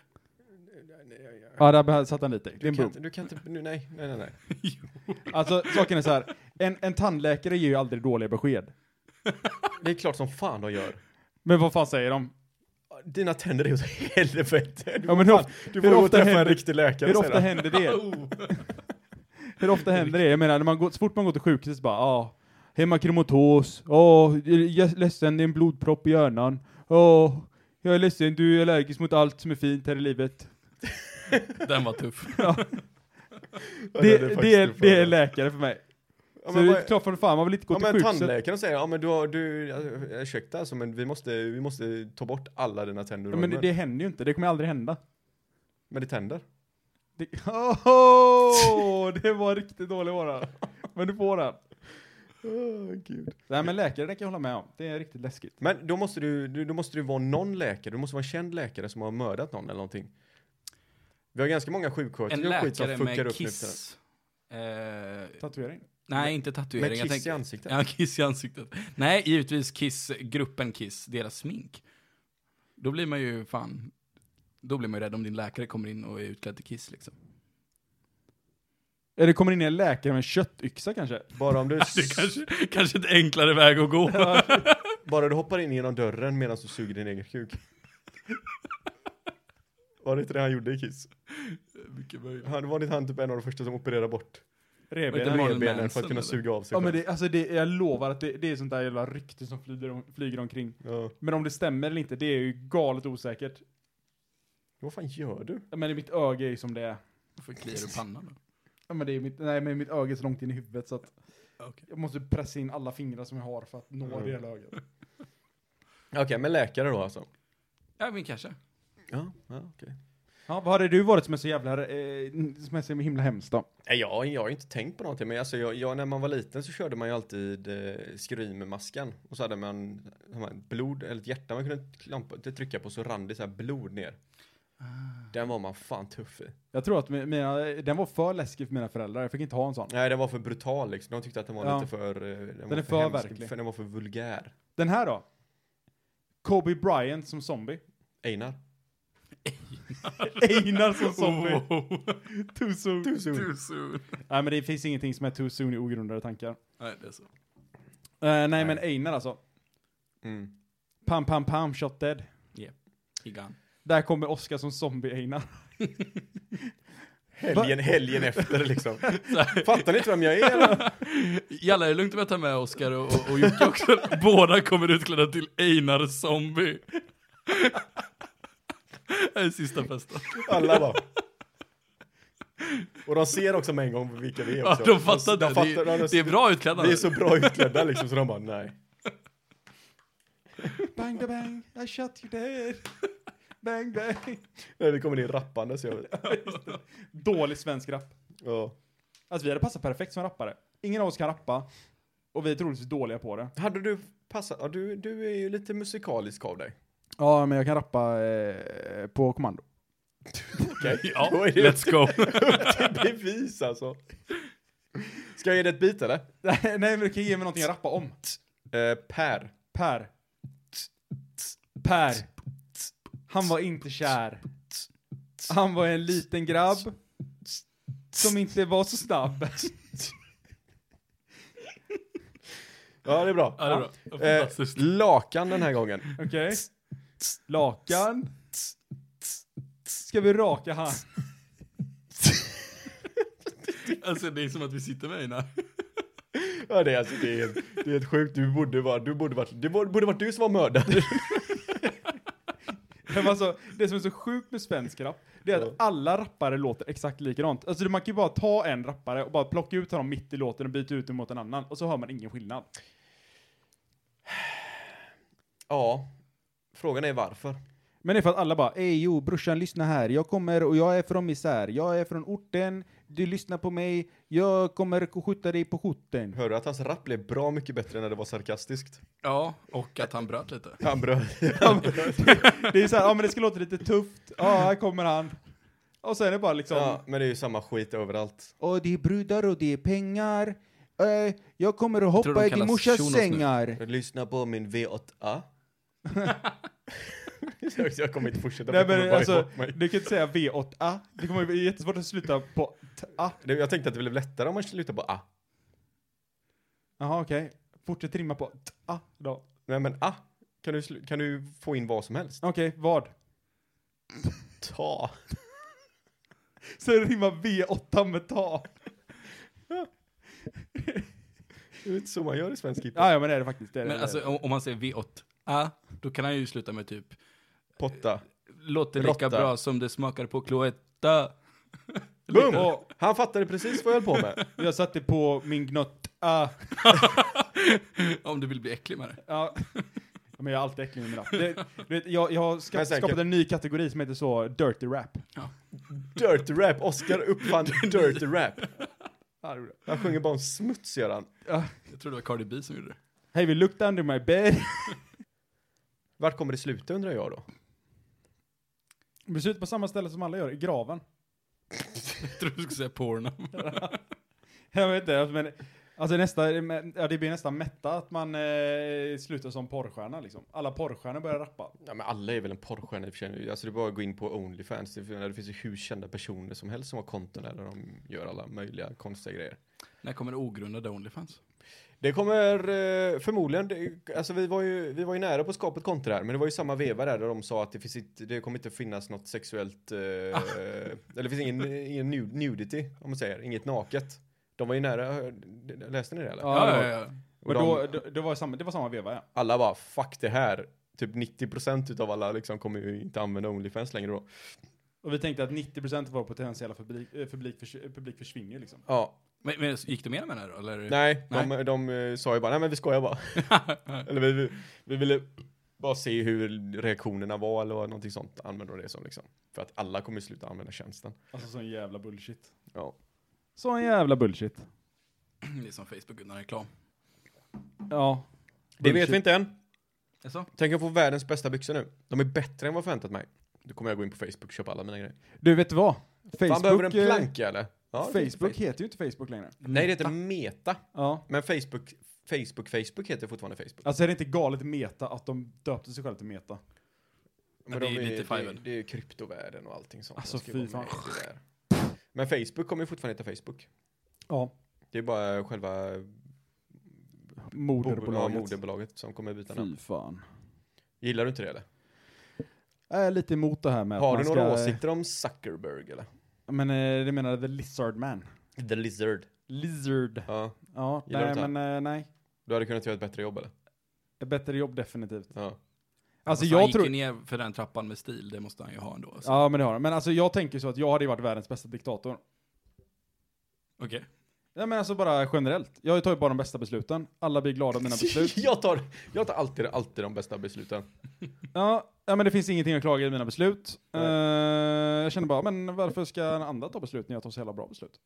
[SPEAKER 4] Ja, där behö- satt han lite. Det är
[SPEAKER 3] Du
[SPEAKER 4] en
[SPEAKER 3] kan,
[SPEAKER 4] boom.
[SPEAKER 3] inte- du kan inte, nu, nej, nej, nej, nej.
[SPEAKER 4] Alltså, saken är så här. En, en tandläkare ger ju aldrig dåliga besked.
[SPEAKER 3] Det är klart som fan de gör.
[SPEAKER 4] Men vad fan säger de?
[SPEAKER 3] Dina tänder är åt helvete. Du
[SPEAKER 4] Ja, men
[SPEAKER 3] får
[SPEAKER 4] hur
[SPEAKER 3] fan-
[SPEAKER 4] of-
[SPEAKER 3] du
[SPEAKER 4] hur
[SPEAKER 3] får gå och
[SPEAKER 4] ofta
[SPEAKER 3] träffa en
[SPEAKER 4] händer-
[SPEAKER 3] riktig läkare
[SPEAKER 4] Hur ofta
[SPEAKER 3] sedan.
[SPEAKER 4] händer (laughs) det? Hur ofta händer Oh. det? Jag menar, när man går, så fort man går till sjukhus så bara, ja, ah, hemakromatos, åh, jag är ledsen, det är en blodpropp i hjärnan, åh, jag är ledsen, du är allergisk mot allt som är fint här i livet. (laughs)
[SPEAKER 5] Den var tuff.
[SPEAKER 3] Ja,
[SPEAKER 4] Det,
[SPEAKER 3] är
[SPEAKER 4] det,
[SPEAKER 3] faktiskt
[SPEAKER 4] är,
[SPEAKER 3] tufft.
[SPEAKER 4] det är läkare för mig.
[SPEAKER 3] Ja,
[SPEAKER 4] så
[SPEAKER 3] men
[SPEAKER 4] det
[SPEAKER 3] vad-
[SPEAKER 4] är klart för fan, man vill inte gå
[SPEAKER 3] Ja men
[SPEAKER 4] till sjukhuset.
[SPEAKER 3] tandläkaren säger, ja men du har, du, alltså, ursäkta alltså men vi måste, vi måste ta bort alla dina tänder
[SPEAKER 4] Ja,
[SPEAKER 3] och
[SPEAKER 4] men det,
[SPEAKER 3] rönnor."
[SPEAKER 4] det händer ju inte, det kommer aldrig hända.
[SPEAKER 3] Men det tänder.
[SPEAKER 4] Det, (laughs) oh, det var riktigt dålig vara. Men du får den.
[SPEAKER 3] Åh, Gud.
[SPEAKER 4] Nej men läkare, det kan jag hålla med om. Det är riktigt läskigt.
[SPEAKER 3] Men då måste du, du, då måste du vara någon läkare, du måste vara en känd läkare som har mördat någon eller någonting. Vi har ganska många
[SPEAKER 5] En
[SPEAKER 3] sjuksköterskor och skit som
[SPEAKER 5] läkare
[SPEAKER 3] fuckar upp
[SPEAKER 5] med
[SPEAKER 3] nu för tiden.
[SPEAKER 5] kiss... Eh,
[SPEAKER 4] Tatuering.
[SPEAKER 5] nej, inte
[SPEAKER 3] Med
[SPEAKER 5] tatuering. jag
[SPEAKER 3] kiss i
[SPEAKER 5] tänker-
[SPEAKER 3] ansiktet.
[SPEAKER 5] Ja, Kiss i ansiktet. Nej, givetvis Kiss, gruppen Kiss, deras smink. Då blir man ju fan, då blir man ju rädd om din läkare kommer in och är utklädd till Kiss liksom.
[SPEAKER 4] Eller kommer in en läkare med en köttyxa kanske?
[SPEAKER 3] Bara om
[SPEAKER 4] (laughs)
[SPEAKER 3] du,
[SPEAKER 5] Det är kanske, kanske ett enklare väg att gå.
[SPEAKER 3] bara du hoppar in genom dörren medan du suger din egen kuk. Var det inte det han gjorde i Kiss?
[SPEAKER 5] Mycket möjligt.
[SPEAKER 3] Han var inte han typ en av de första som opererade bort
[SPEAKER 5] Var inte
[SPEAKER 4] Revbenen.
[SPEAKER 5] Marilyn
[SPEAKER 3] revbenen för
[SPEAKER 5] Manson,
[SPEAKER 3] att kunna
[SPEAKER 5] eller?
[SPEAKER 3] suga av sig
[SPEAKER 4] Ja men
[SPEAKER 3] själv.
[SPEAKER 4] det, alltså det, jag lovar att det, det är sånt där jävla rykte som flyger, om- flyger omkring.
[SPEAKER 3] Ja.
[SPEAKER 4] Men om det stämmer eller inte, det är ju galet osäkert.
[SPEAKER 3] Vad fan gör du?
[SPEAKER 4] Ja, Men i mitt öga är ju som det är.
[SPEAKER 5] Varför kliar du pannan då?
[SPEAKER 4] Ja, men det är mitt, nej men mitt öga är så långt in i huvudet så att
[SPEAKER 5] Okej.
[SPEAKER 4] jag måste pressa in alla fingrar som jag har för att nå
[SPEAKER 3] Mm.
[SPEAKER 4] det jävla ögat.
[SPEAKER 3] Okej, men läkare då alltså?
[SPEAKER 5] Ja, men kanske.
[SPEAKER 3] Ja, ja okej.
[SPEAKER 4] Ja, vad hade du varit som är så jävla, eh, som är så himla hemskt då?
[SPEAKER 3] Nej, jag, jag har ju inte tänkt på någonting, men alltså jag, jag, när man var liten så körde man ju alltid eh, skruin med masken. Och så hade man, hade man blod, eller ett hjärta man kunde klampa, inte trycka på så rann det så här blod ner.
[SPEAKER 5] Ah.
[SPEAKER 3] Den var man fan tuff i.
[SPEAKER 4] Jag tror att mi- mina, den var för läskig för mina föräldrar, jag fick inte ha en sån.
[SPEAKER 3] Nej, den var för brutal liksom. De tyckte att den var
[SPEAKER 4] Ja.
[SPEAKER 3] lite för... eh, Den, var
[SPEAKER 4] är för verklig.
[SPEAKER 3] För, den var för vulgär.
[SPEAKER 4] Den här då? Kobe Bryant som zombie.
[SPEAKER 3] Einar.
[SPEAKER 4] (laughs) Einar som zombie.
[SPEAKER 5] Oh,
[SPEAKER 3] (laughs)
[SPEAKER 4] Too soon.
[SPEAKER 3] Mm.
[SPEAKER 5] too soon.
[SPEAKER 4] Nej men det finns ingenting som är too soon i ogrundade tankar.
[SPEAKER 5] Nej, det är så.
[SPEAKER 4] Eh, nej, men Einar alltså.
[SPEAKER 3] Mm.
[SPEAKER 4] Pam pam pam shot dead.
[SPEAKER 5] Gigan.
[SPEAKER 4] Där kommer Oskar som zombie Einar.
[SPEAKER 3] Helgen, helgen efter
[SPEAKER 5] (laughs)
[SPEAKER 3] liksom. Fattar ni inte vem jag är eller?
[SPEAKER 5] Jalla, är det lugnt om jag tar med Oskar och, och, och
[SPEAKER 3] (laughs)
[SPEAKER 5] Jocke också? Båda kommer utklädda till Einar Zombie. Det här är sista festen.
[SPEAKER 3] Alla bara. Och de ser också med en gång vilka vi är
[SPEAKER 5] Ja,
[SPEAKER 3] också.
[SPEAKER 5] de fattar
[SPEAKER 3] de
[SPEAKER 5] det.
[SPEAKER 3] fattar-
[SPEAKER 5] det,
[SPEAKER 3] de-
[SPEAKER 5] är, det är bra utklädda.
[SPEAKER 3] Vi är så bra utklädda liksom så de bara nej.
[SPEAKER 4] Bang da bang, I shot you dead. (laughs) Bang bang.
[SPEAKER 3] Nej, det kommer in rappande så jag vet.
[SPEAKER 4] Dålig svensk rap.
[SPEAKER 3] Ja.
[SPEAKER 4] Alltså vi hade passat perfekt som rappare. Ingen av oss kan rappa. Och vi är troligtvis dåliga på det.
[SPEAKER 3] Hade du passat, ja, du, du är ju lite musikalisk av dig.
[SPEAKER 4] Ja men jag kan rappa eh, på kommando.
[SPEAKER 3] Okej,
[SPEAKER 5] (laughs) Ja,
[SPEAKER 3] då är det (laughs)
[SPEAKER 5] let's go.
[SPEAKER 3] till bevis alltså. Ska jag ge dig ett bit eller?
[SPEAKER 4] (laughs) nej men du kan ge mig någonting jag rappar om.
[SPEAKER 3] Eh, per.
[SPEAKER 4] Per. Per. Han var inte kär. Han var en liten grabb. Som inte var så snabb. (laughs)
[SPEAKER 3] Ja, det är bra.
[SPEAKER 5] Ja, det är bra. Det var
[SPEAKER 3] Eh,
[SPEAKER 5] Fantastiskt.
[SPEAKER 3] lakan den här gången.
[SPEAKER 4] Okej? Lakan. Ska vi raka han?
[SPEAKER 5] Alltså det är som att vi sitter med Einar.
[SPEAKER 3] Ja, det är alltså, det är, helt- det är helt sjukt. Du borde vara, du borde varit, det borde, borde varit du som var mördare.
[SPEAKER 4] Men alltså, det som är så sjukt med svensk rap, det är
[SPEAKER 3] Ja.
[SPEAKER 4] att alla rappare låter exakt likadant. Alltså man kan ju bara ta en rappare och bara plocka ut honom mitt i låten och byta ut den mot en annan, och så hör man ingen skillnad.
[SPEAKER 3] (laughs) Ja, Frågan är varför.
[SPEAKER 4] Men det är för att alla bara, ej jo, brorsan lyssna här, jag kommer och jag är från misär, jag är från orten, du lyssnar på mig, jag kommer och skjuta dig på skjorten.
[SPEAKER 3] Hör du att hans rap blev bra mycket bättre när det var sarkastiskt?
[SPEAKER 5] Ja, och att han bröt lite.
[SPEAKER 3] Han (laughs) bröt.
[SPEAKER 4] Det är såhär, ja men det ska låta lite tufft, ja här kommer han. Och sen är det bara liksom,
[SPEAKER 3] ja, men det är ju samma skit överallt.
[SPEAKER 4] och det är brudar och det är pengar, eh, jag kommer att
[SPEAKER 5] tror
[SPEAKER 4] hoppa
[SPEAKER 5] de
[SPEAKER 4] i din
[SPEAKER 5] kallas
[SPEAKER 4] morsas
[SPEAKER 5] shunos nu.
[SPEAKER 4] sängar.
[SPEAKER 3] Lyssna på min V8A. (laughs) jag, jag kommer inte fortsätta. för jag
[SPEAKER 4] Nej
[SPEAKER 3] kommer
[SPEAKER 4] men
[SPEAKER 3] bara
[SPEAKER 4] alltså,
[SPEAKER 3] ihåg mig.
[SPEAKER 4] du kan inte säga V8A, det kommer bli jättesvårt att sluta på A.
[SPEAKER 3] Det- Jag tänkte att det blev lättare om man slutar på A.
[SPEAKER 4] Jaha okej, fortsätt rimma på A då.
[SPEAKER 3] Nej men A. Kan du, slu- kan du få in vad som helst?
[SPEAKER 4] Okej, vad?
[SPEAKER 3] Ta.
[SPEAKER 4] Sen rimmar V8 med ta.
[SPEAKER 3] Det är inte så man gör i svensk hiphop.
[SPEAKER 4] Ja, ja men det är det faktiskt. Det är det,
[SPEAKER 5] Men
[SPEAKER 4] det är det.
[SPEAKER 5] alltså om, om man säger V8, ah, då kan han ju sluta med typ
[SPEAKER 3] Potta.
[SPEAKER 5] Låter lika
[SPEAKER 3] Råtta.
[SPEAKER 5] bra som det smakar på kloetta.
[SPEAKER 3] Boom!
[SPEAKER 4] Åh.
[SPEAKER 3] Han fattade precis vad jag höll på (laughs) med.
[SPEAKER 4] Jag satte på min gnott. Ah,
[SPEAKER 5] Om du vill bli äcklig med det.
[SPEAKER 4] ja. Ja, Men jag är alltid äcklig med mina. Det, du vet, jag, jag har ska,
[SPEAKER 3] Men säkert-
[SPEAKER 4] skapat en ny kategori som heter så, dirty rap.
[SPEAKER 3] Dirty rap. Oscar uppfann (laughs) dirty rap.
[SPEAKER 4] Ja, det är bra.
[SPEAKER 3] Han sjunger bara om smuts gör han.
[SPEAKER 5] Jag tror det var Cardi B som gjorde det.
[SPEAKER 4] Hey we looked under my bed.
[SPEAKER 3] Vart kommer det sluta undrar jag då?
[SPEAKER 4] Beslut på samma ställe som alla gör, i graven.
[SPEAKER 5] Jag tror du skulle säga porno.
[SPEAKER 4] (laughs) Jag vet inte, men alltså nästa, ja, det blir nästan mätta att man eh, slutar som porrstjärna liksom. Alla porrstjärnor börjar rappa.
[SPEAKER 3] Ja men alla är väl en porrstjärna i och för sig nu. Alltså det är bara att gå in på Onlyfans. Det finns det finns ju hur kända personer som helst som har konton där de gör alla möjliga konstiga grejer.
[SPEAKER 5] (laughs) När kommer det ogrundade Onlyfans?
[SPEAKER 3] Det kommer eh, förmodligen, det- alltså vi var ju, vi var ju nära på skapet kontra här, men det var ju samma veva där, där de sa att det, finns inte, det kommer inte finnas något sexuellt, eh, eller det finns ingen, ingen nu- nudity, om man säger, inget naket. De var ju nära, läste ni det eller?
[SPEAKER 4] Ja, det var-
[SPEAKER 5] ja.
[SPEAKER 4] Och
[SPEAKER 3] Och
[SPEAKER 4] då,
[SPEAKER 3] de,
[SPEAKER 4] då, då var det, samma, det var samma veva ja.
[SPEAKER 3] alla bara, fuck det här. Typ 90% utav alla liksom kommer ju inte använda Onlyfans längre då.
[SPEAKER 4] Och vi tänkte att 90% av vår potentiella publik, eh, publik, förs, eh, publik försvinner liksom.
[SPEAKER 3] Ja,
[SPEAKER 5] Men, men gick du med med det här då? Eller?
[SPEAKER 3] nej, de, de eh, sa ju bara, nej men vi skojar (laughs) bara. eller vi, vi, vi ville bara se hur reaktionerna var eller någonting sånt, använde de det som liksom. För att alla kommer ju sluta använda tjänsten.
[SPEAKER 4] Alltså sån jävla bullshit.
[SPEAKER 3] Ja.
[SPEAKER 4] Sån jävla bullshit.
[SPEAKER 5] (clears throat) Det är som Facebook utan reklam.
[SPEAKER 4] Ja.
[SPEAKER 3] Det vet vi inte än.
[SPEAKER 5] Jaså?
[SPEAKER 3] Tänk att få världens bästa byxor nu. De är bättre än vad jag förväntat mig. Då kommer jag gå in på Facebook och köpa alla mina grejer.
[SPEAKER 4] Du vet du vad? Facebook,
[SPEAKER 3] Fan, behöver en
[SPEAKER 4] eh,
[SPEAKER 3] planka eller? Ja, det heter
[SPEAKER 4] Facebook heter ju inte Facebook längre.
[SPEAKER 5] Mm.
[SPEAKER 3] Nej, det heter Meta.
[SPEAKER 4] Ja.
[SPEAKER 3] Men Facebook, Facebook, Facebook heter fortfarande Facebook.
[SPEAKER 4] Alltså är det inte galet meta att de döpte sig själva till meta?
[SPEAKER 5] Ja, det är ju lite
[SPEAKER 3] det,
[SPEAKER 5] fiven.
[SPEAKER 3] det är ju kryptovärlden och allting sånt.
[SPEAKER 4] Alltså,
[SPEAKER 3] Jag ska ju
[SPEAKER 4] fy
[SPEAKER 3] vara
[SPEAKER 4] fan.
[SPEAKER 3] med i det där. Men Facebook kommer ju fortfarande heta Facebook.
[SPEAKER 4] Ja.
[SPEAKER 3] Det är bara själva ja,
[SPEAKER 4] Moderbolaget.
[SPEAKER 3] moderbolaget som kommer byta namn.
[SPEAKER 4] Fy fan.
[SPEAKER 3] Gillar du inte det eller?
[SPEAKER 4] Jag är lite emot det här med
[SPEAKER 3] Har
[SPEAKER 4] att
[SPEAKER 3] du
[SPEAKER 4] man
[SPEAKER 3] några
[SPEAKER 4] ska...
[SPEAKER 3] åsikter om Zuckerberg eller?
[SPEAKER 4] Men eh, det menar The Lizard Man.
[SPEAKER 3] The Lizard.
[SPEAKER 4] Lizard.
[SPEAKER 3] Ja,
[SPEAKER 4] Ja,
[SPEAKER 3] Gillar du
[SPEAKER 4] nej
[SPEAKER 3] inte
[SPEAKER 4] men eh, nej.
[SPEAKER 3] du hade kunnat göra ett bättre jobb eller?
[SPEAKER 4] Ett bättre jobb definitivt.
[SPEAKER 3] Ja.
[SPEAKER 4] Alltså
[SPEAKER 5] Fast han
[SPEAKER 4] jag
[SPEAKER 5] gick ju
[SPEAKER 4] tror...
[SPEAKER 5] ner för den trappan med stil, det måste han ju ha ändå. Alltså.
[SPEAKER 4] Ja men det har de. Men alltså jag tänker så att jag hade ju varit världens bästa diktator.
[SPEAKER 5] Okej.
[SPEAKER 4] Nej men alltså bara generellt. Jag tar ju bara de bästa besluten. Alla blir glada av mina
[SPEAKER 3] (laughs)
[SPEAKER 4] beslut.
[SPEAKER 3] jag, tar, jag tar alltid, alltid de bästa besluten.
[SPEAKER 4] Ja, ja men det finns ingenting att klaga i mina beslut.
[SPEAKER 3] Nej.
[SPEAKER 4] Eh, jag känner bara, men varför ska en andra ta beslut när jag tar så jävla bra beslut?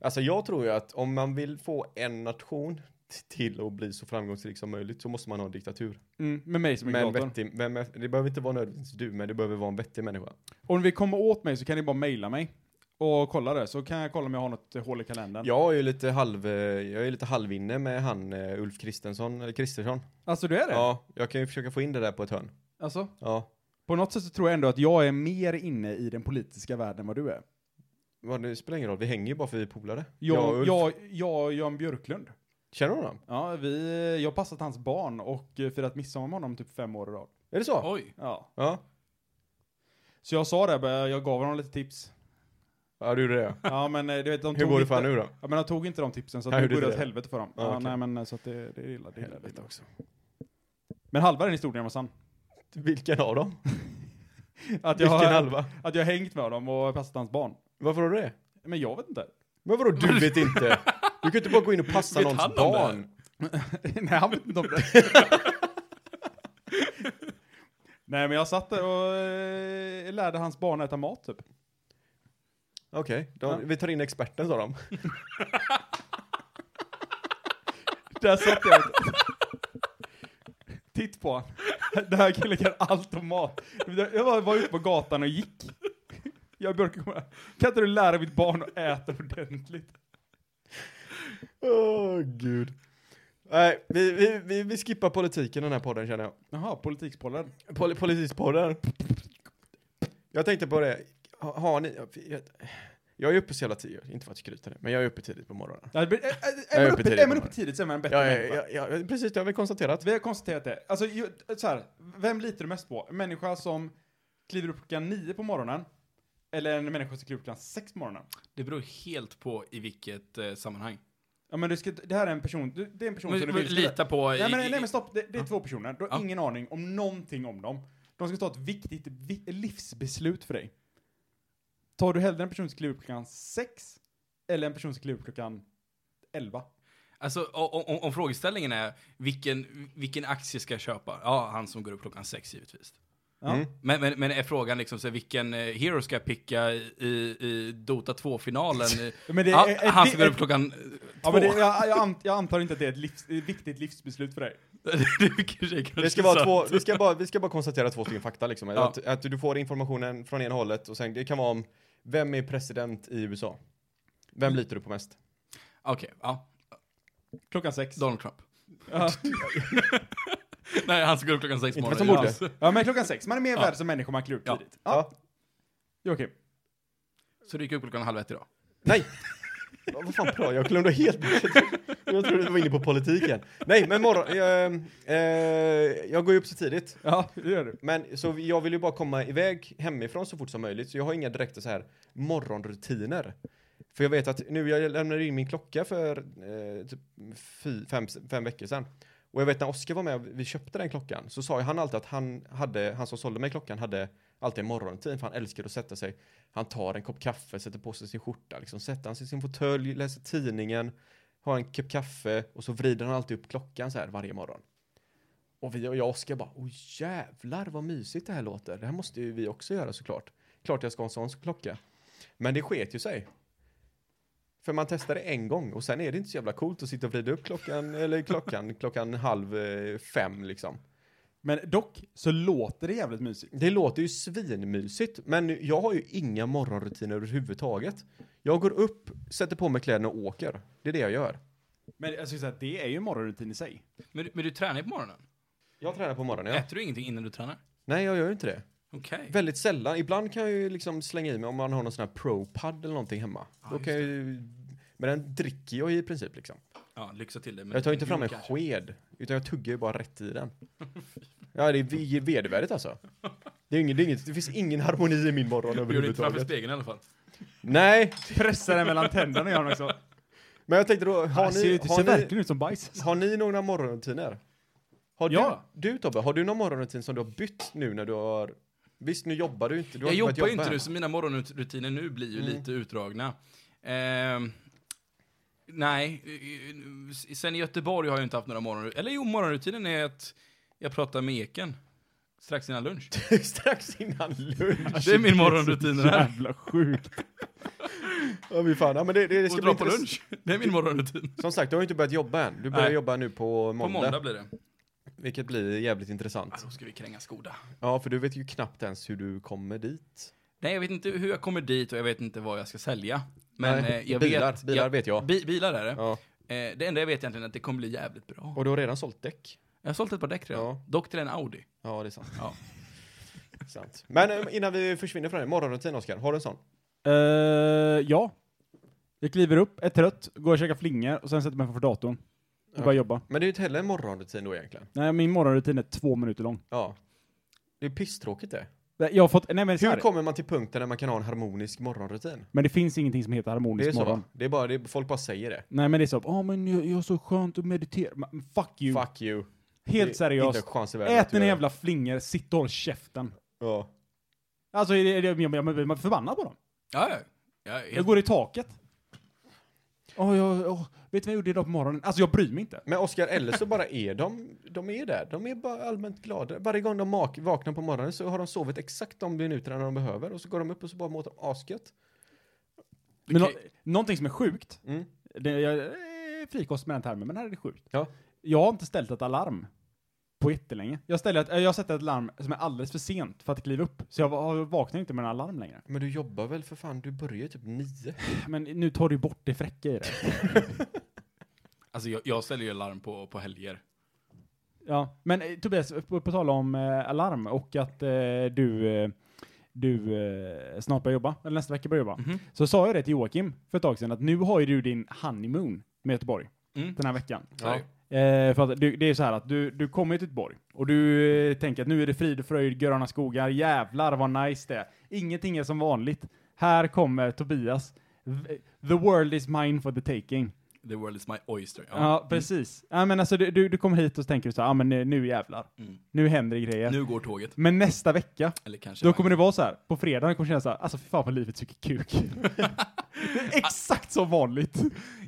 [SPEAKER 3] Alltså jag tror ju att om man vill få en nation t- till att bli så framgångsrik som möjligt så måste man ha en diktatur.
[SPEAKER 4] Mm, med mig som är
[SPEAKER 3] Men en
[SPEAKER 4] diktator.
[SPEAKER 3] vettig, vem är, det behöver inte vara nödvändigtvis du, men det behöver vara en vettig människa.
[SPEAKER 4] Om vi kommer åt mig så kan ni bara mejla mig. Och kolla det, så kan jag kolla om jag har något hål i kalendern.
[SPEAKER 3] Jag är ju lite halv, eh, jag är lite halvinne med han eh, Ulf Kristensson, eller Kristersson.
[SPEAKER 4] Alltså du är det?
[SPEAKER 3] Ja, jag kan ju försöka få in det där på ett hörn.
[SPEAKER 4] Alltså,
[SPEAKER 3] Ja.
[SPEAKER 4] på något sätt så tror jag ändå att jag är mer inne i den politiska världen än vad du är.
[SPEAKER 3] Vad, det spelar ingen roll, vi hänger ju bara för vi är polare. Jag och
[SPEAKER 4] Jag,
[SPEAKER 3] Ulf.
[SPEAKER 4] jag, jag, Jan Björklund.
[SPEAKER 3] Känner du honom?
[SPEAKER 4] Ja, vi, jag har passat hans barn och eh, firat midsommar med honom typ fem år i rad.
[SPEAKER 3] Är det så?
[SPEAKER 5] Oj.
[SPEAKER 4] Ja.
[SPEAKER 3] Ja.
[SPEAKER 4] Så jag sa det, bara, jag gav honom lite tips.
[SPEAKER 3] Ja, du gjorde det. ja. (laughs)
[SPEAKER 4] Ja men eh, du vet, de
[SPEAKER 3] Hur
[SPEAKER 4] tog
[SPEAKER 3] går det
[SPEAKER 4] inte-
[SPEAKER 3] för han nu då?
[SPEAKER 4] Ja, men han tog inte de tipsen så att
[SPEAKER 3] Nej,
[SPEAKER 4] nu
[SPEAKER 3] hur
[SPEAKER 4] går det
[SPEAKER 3] det
[SPEAKER 4] åt
[SPEAKER 3] är.
[SPEAKER 4] helvete för dem.
[SPEAKER 3] Ja,
[SPEAKER 4] Ja,
[SPEAKER 3] okej.
[SPEAKER 4] Nej men eh, så att det, det är illa. Det är illa, det är illa.
[SPEAKER 3] Helvete också.
[SPEAKER 4] Men halva den historien var sann.
[SPEAKER 3] Vilken av dem?
[SPEAKER 4] Att jag,
[SPEAKER 3] Vilken
[SPEAKER 4] har,
[SPEAKER 3] halva?
[SPEAKER 4] att jag har hängt med dem och passat hans barn.
[SPEAKER 3] Varför har du det?
[SPEAKER 4] Men jag vet inte.
[SPEAKER 3] Men vadå du vet inte? Du kan inte bara gå in och passa
[SPEAKER 5] Vet
[SPEAKER 3] någons
[SPEAKER 5] han om det här?
[SPEAKER 4] (laughs)
[SPEAKER 3] barn.
[SPEAKER 4] Nej han vet inte om det. (laughs) Nej, men jag satt där och eh, lärde hans barn äta mat typ.
[SPEAKER 3] Okej, då-
[SPEAKER 4] Ja.
[SPEAKER 3] vi tar in experten sa de.
[SPEAKER 4] Där satt jag. (laughs) Titt på han. Den här killen kan allt om mat. Jag var, var ute på gatan och gick. Jag och Björk kom här. Kan inte du lära mitt barn att äta ordentligt?
[SPEAKER 3] Åh gud. Nej, vi, vi, vi, vi skippar politiken i den här podden känner jag.
[SPEAKER 4] Jaha, politikspollen.
[SPEAKER 3] Pol Politispodden. Jag tänkte på det. Ha- Har ni... Jag, jag är uppe så jävla tidigt, inte för att skryta nu, men jag är uppe tidigt på morgonen.
[SPEAKER 4] Ja, men, Är
[SPEAKER 3] Jag är uppe
[SPEAKER 4] är man uppe,
[SPEAKER 3] tidigt
[SPEAKER 4] är
[SPEAKER 3] på
[SPEAKER 4] man uppe
[SPEAKER 3] morgonen.
[SPEAKER 4] tidigt så är man en bättre
[SPEAKER 3] Jag,
[SPEAKER 4] människa.
[SPEAKER 3] jag, jag, precis, det har vi konstaterat.
[SPEAKER 4] Vi har konstaterat det. Alltså, ju- så här, vem litar du mest på? En människa som kliver upp klockan nio på morgonen? Eller en människa som kliver upp klockan sex på morgonen?
[SPEAKER 5] Det beror helt på i vilket eh, sammanhang.
[SPEAKER 4] Ja, men du ska, det här är en person, du- det är en person
[SPEAKER 5] Men,
[SPEAKER 4] som du
[SPEAKER 5] men,
[SPEAKER 4] vill ska-
[SPEAKER 5] lita på...
[SPEAKER 4] Nej men,
[SPEAKER 5] i,
[SPEAKER 4] nej men
[SPEAKER 5] i,
[SPEAKER 4] stopp, det, det är
[SPEAKER 5] Ja.
[SPEAKER 4] två personer. Du har
[SPEAKER 5] Ja.
[SPEAKER 4] ingen aning om någonting om dem. De ska ta ett viktigt vi, livsbeslut för dig. Tar du hellre en person som kliver upp klockan sex eller en person som kliver upp klockan elva?
[SPEAKER 5] alltså, om, om, om frågeställningen är vilken, vilken aktie ska jag köpa? Ja, han som går upp klockan sex givetvis.
[SPEAKER 4] Ja.
[SPEAKER 3] Mm.
[SPEAKER 5] Men, men, men är frågan liksom så här, vilken eh, hero ska jag picka i, i Dota 2-finalen?
[SPEAKER 4] Men (laughs) det
[SPEAKER 5] ja,
[SPEAKER 4] är- är-
[SPEAKER 5] han
[SPEAKER 4] det-
[SPEAKER 5] som går upp
[SPEAKER 4] är-
[SPEAKER 5] klockan eh,
[SPEAKER 4] Ja,
[SPEAKER 5] två.
[SPEAKER 4] men det, jag, jag, ant, jag antar inte att det är ett livs, ett viktigt livsbeslut för dig.
[SPEAKER 5] (laughs) Det kanske är
[SPEAKER 3] Det ska
[SPEAKER 5] kanske
[SPEAKER 3] vara
[SPEAKER 5] sant.
[SPEAKER 3] två, vi, ska bara, vi ska bara konstatera två stycken fakta liksom.
[SPEAKER 5] Ja.
[SPEAKER 3] Att, att du får informationen från ena hållet och sen det kan vara om vem är president i USA? Vem litar du på mest?
[SPEAKER 5] Okej, ja.
[SPEAKER 4] Klockan sex.
[SPEAKER 5] Donald Trump. (laughs)
[SPEAKER 4] Ja.
[SPEAKER 5] Nej, han som går upp klockan sex på
[SPEAKER 3] Inte fast
[SPEAKER 5] morgonen.
[SPEAKER 3] de
[SPEAKER 5] Ja.
[SPEAKER 4] ja men klockan sex, man är mer
[SPEAKER 5] Ja.
[SPEAKER 4] värd som människa om man kliver upp
[SPEAKER 5] Ja.
[SPEAKER 4] tidigt. Ja. Ja. Okej.
[SPEAKER 5] Så du gick upp klockan halv ett idag?
[SPEAKER 3] Nej! Ja, Vad fan pratar jag? Jag glömde helt bort. Jag trodde du var inne på politiken. Nej, men morgon... Jag, eh, jag går ju upp så tidigt.
[SPEAKER 4] Ja, det gör du.
[SPEAKER 3] Men så jag vill ju bara komma iväg hemifrån så fort som möjligt. Så jag har inga direkta så här morgonrutiner. För jag vet att nu, jag lämnade in min klocka för eh, typ fy, fem, fem veckor sedan. Och jag vet när Oskar var med, vi köpte den klockan, så sa ju han alltid att han hade, han som sålde mig klockan hade alltid en morgonrutin, för han älskar att sätta sig. Han tar en kopp kaffe, sätter på sig sin skjorta, liksom sätter han sig i sin fåtölj, läser tidningen, har en kopp kaffe och så vrider han alltid upp klockan så här varje morgon. Och vi och jag och Oskar bara, åh jävlar vad mysigt det här låter. Det här måste ju vi också göra såklart. Klart jag ska ha en sån klocka. Men det sket ju sig. För man testar det en gång och sen är det inte så jävla coolt att sitta och vrida upp klockan, (laughs) eller klockan, klockan halv eh, fem liksom.
[SPEAKER 4] Men dock så låter det jävligt mysigt.
[SPEAKER 3] Det låter ju svinmysigt, men jag har ju inga morgonrutiner överhuvudtaget. Jag går upp, sätter på mig kläderna och åker. Det är det jag gör.
[SPEAKER 4] Men jag skulle säga att det är ju en morgonrutin i sig.
[SPEAKER 5] Men, du- men du tränar ju på morgonen?
[SPEAKER 3] Jag tränar på morgonen, ja.
[SPEAKER 5] Äter du ingenting innan du tränar?
[SPEAKER 3] Nej, jag gör ju inte det.
[SPEAKER 5] Okej.
[SPEAKER 3] Väldigt sällan. Ibland kan jag ju liksom slänga i mig om man har någon sån här pro-pad eller någonting hemma. Då
[SPEAKER 5] just
[SPEAKER 3] kan jag ju, men den dricker jag i princip liksom.
[SPEAKER 5] Ja, lyxa till dig. men-
[SPEAKER 3] Jag tar ju inte fram en
[SPEAKER 5] Kanske.
[SPEAKER 3] sked, utan jag tuggar ju bara rätt i
[SPEAKER 4] (laughs)
[SPEAKER 3] den. Ja, det är v- vedervärdigt alltså. Det, är inget, det, är inget, det finns ingen harmoni i min
[SPEAKER 4] (laughs)
[SPEAKER 3] morgon
[SPEAKER 5] Du gjorde inte framför
[SPEAKER 3] överhuvudtaget.
[SPEAKER 5] spegeln i alla fall.
[SPEAKER 3] Nej,
[SPEAKER 4] Pressar den mellan tänderna gör han också.
[SPEAKER 3] men jag tänkte då, har
[SPEAKER 4] det ser, ju-
[SPEAKER 3] ni,
[SPEAKER 4] det ser
[SPEAKER 3] har ni,
[SPEAKER 4] verkligen ut som bajs.
[SPEAKER 3] har ni några morgonrutiner? Har
[SPEAKER 4] Ja.
[SPEAKER 3] du, du Tobbe, har du någon morgonrutin som du har bytt nu när du har... Visst, nu jobbar du inte. Du har Mm.
[SPEAKER 5] Jag
[SPEAKER 3] inte börjat
[SPEAKER 5] jobbar ju inte
[SPEAKER 3] jobba
[SPEAKER 5] nu,
[SPEAKER 3] än.
[SPEAKER 5] så mina morgonrutiner nu blir ju lite utdragna. Ehm, nej, eh, sen i Göteborg har jag ju inte haft några morgonrutiner. Eller jo, morgonrutinen är att jag pratar med Eken strax
[SPEAKER 3] (laughs)
[SPEAKER 5] innan lunch.
[SPEAKER 3] Strax innan lunch.
[SPEAKER 5] Det är min morgonrutin det här.
[SPEAKER 4] Jävla sjukt.
[SPEAKER 3] Ja, fy fan. Ja, men det, det, det
[SPEAKER 5] Och
[SPEAKER 3] ska bli
[SPEAKER 5] dra på
[SPEAKER 3] intressant.
[SPEAKER 5] lunch. Det är min morgonrutin.
[SPEAKER 3] Som sagt, du har ju inte börjat jobba än. Du börjar
[SPEAKER 5] Nej.
[SPEAKER 3] jobba nu på måndag,
[SPEAKER 5] På måndag blir det.
[SPEAKER 3] Vilket blir jävligt intressant.
[SPEAKER 5] Ja, då ska vi kränga Skoda.
[SPEAKER 3] Ja, för du vet ju knappt ens hur du kommer dit.
[SPEAKER 5] Nej, jag vet inte hur jag kommer dit och jag vet inte vad jag ska sälja. Men
[SPEAKER 3] Nej,
[SPEAKER 5] eh, jag
[SPEAKER 3] bilar,
[SPEAKER 5] vet...
[SPEAKER 3] bilar vet jag.
[SPEAKER 5] Bi, bilar är det.
[SPEAKER 3] Ja.
[SPEAKER 5] Eh, det enda jag vet egentligen är att det kommer bli jävligt bra.
[SPEAKER 3] Och du har redan sålt däck.
[SPEAKER 5] Jag har sålt ett par däck redan.
[SPEAKER 3] Ja.
[SPEAKER 5] Dock till en Audi.
[SPEAKER 3] Ja, det är sant.
[SPEAKER 5] Ja.
[SPEAKER 3] sant. Men eh, innan vi försvinner från det, morgonrutin Oskar, har du en sån?
[SPEAKER 4] Eh, ja. Jag kliver upp, är trött, går och käkar flingor och sen sätter mig framför datorn. Och börjar
[SPEAKER 3] Okej.
[SPEAKER 4] jobba.
[SPEAKER 3] Men det är ju inte heller en morgonrutin då egentligen.
[SPEAKER 4] Nej, min morgonrutin är två minuter lång.
[SPEAKER 3] Ja. Det är pisstråkigt det.
[SPEAKER 4] Nej, Jag har fått, nej men så här,
[SPEAKER 3] Hur kommer man till punkten när man kan ha en harmonisk morgonrutin?
[SPEAKER 4] Men det finns ingenting som heter
[SPEAKER 3] Det är
[SPEAKER 4] harmonisk
[SPEAKER 3] så
[SPEAKER 4] morgon.
[SPEAKER 3] va? Det är bara, det är, folk bara säger det.
[SPEAKER 4] Nej men det är så, åh men jag, jag har så skönt att meditera. Men Fuck you.
[SPEAKER 5] Mm.
[SPEAKER 3] Fuck you. Det är
[SPEAKER 4] Helt seriöst.
[SPEAKER 3] Inte en chans i världen att
[SPEAKER 4] Ät
[SPEAKER 3] du
[SPEAKER 4] dina
[SPEAKER 3] gör
[SPEAKER 4] jävla flingor, sitt och håll käften.
[SPEAKER 3] det. Ja.
[SPEAKER 4] Alltså jag, jag, jag, jag, jag blir förbannad på dem.
[SPEAKER 5] Ja, ja. Jag är helt
[SPEAKER 4] Jag går i taket. Åh, jag, åh, vet du vad jag gjorde idag på morgonen? Alltså jag bryr mig inte.
[SPEAKER 3] Men Oscar, eller så bara är de, de är där. De är bara allmänt glada. Varje gång de mak- vaknar på morgonen så har de sovit exakt de minuterna de behöver och så går de upp och så bara mår de asgött.
[SPEAKER 4] Men
[SPEAKER 5] Okej.
[SPEAKER 4] nå- någonting som är sjukt,
[SPEAKER 3] Mm.
[SPEAKER 4] det, jag eh, frikost med den termen, men här är det sjukt.
[SPEAKER 3] Ja.
[SPEAKER 4] Jag har inte ställt ett alarm på jättelänge. Jag, ställer ett, eh, jag sätter ett larm som är alldeles för sent för att kliva upp, så jag va- jag vaknar inte med en alarm längre.
[SPEAKER 3] Men du jobbar väl för fan, du börjar ju typ nio.
[SPEAKER 4] Men nu tar du bort det fräcka i det.
[SPEAKER 5] Alltså jag, jag ställer ju larm på, på helger.
[SPEAKER 4] Ja, men eh, Tobias, på, på tal om eh, alarm och att eh, du, eh, du eh, snart börjar jobba, eller nästa vecka börjar jobba,
[SPEAKER 5] Mhm.
[SPEAKER 4] så sa jag det till Joakim för ett tag sedan att nu har ju du din honeymoon med Göteborg
[SPEAKER 5] Mm.
[SPEAKER 4] den här veckan.
[SPEAKER 5] Så är det.
[SPEAKER 4] Eh, för att du, det är så här att du, du kommer ju till Göteborg och du eh, tänker att nu är det frid och fröjd, gröna skogar, jävlar vad nice det är. Ingenting är som vanligt. Här kommer Tobias. V- eh, The world is mine for the taking.
[SPEAKER 5] The world is my oyster.
[SPEAKER 4] Ja, precis. Ja, men alltså, du, du, du kommer hit och så tänker du så här, ah, men nu, nu jävlar.
[SPEAKER 5] Mm.
[SPEAKER 4] Nu händer det grejer.
[SPEAKER 5] Nu går tåget.
[SPEAKER 4] Men nästa vecka,
[SPEAKER 5] Eller kanske
[SPEAKER 4] då kommer det vara så här. på fredagen kommer det kännas så här, alltså fy fan vad livet suger kuk.
[SPEAKER 5] (laughs)
[SPEAKER 4] Det är Exakt som vanligt.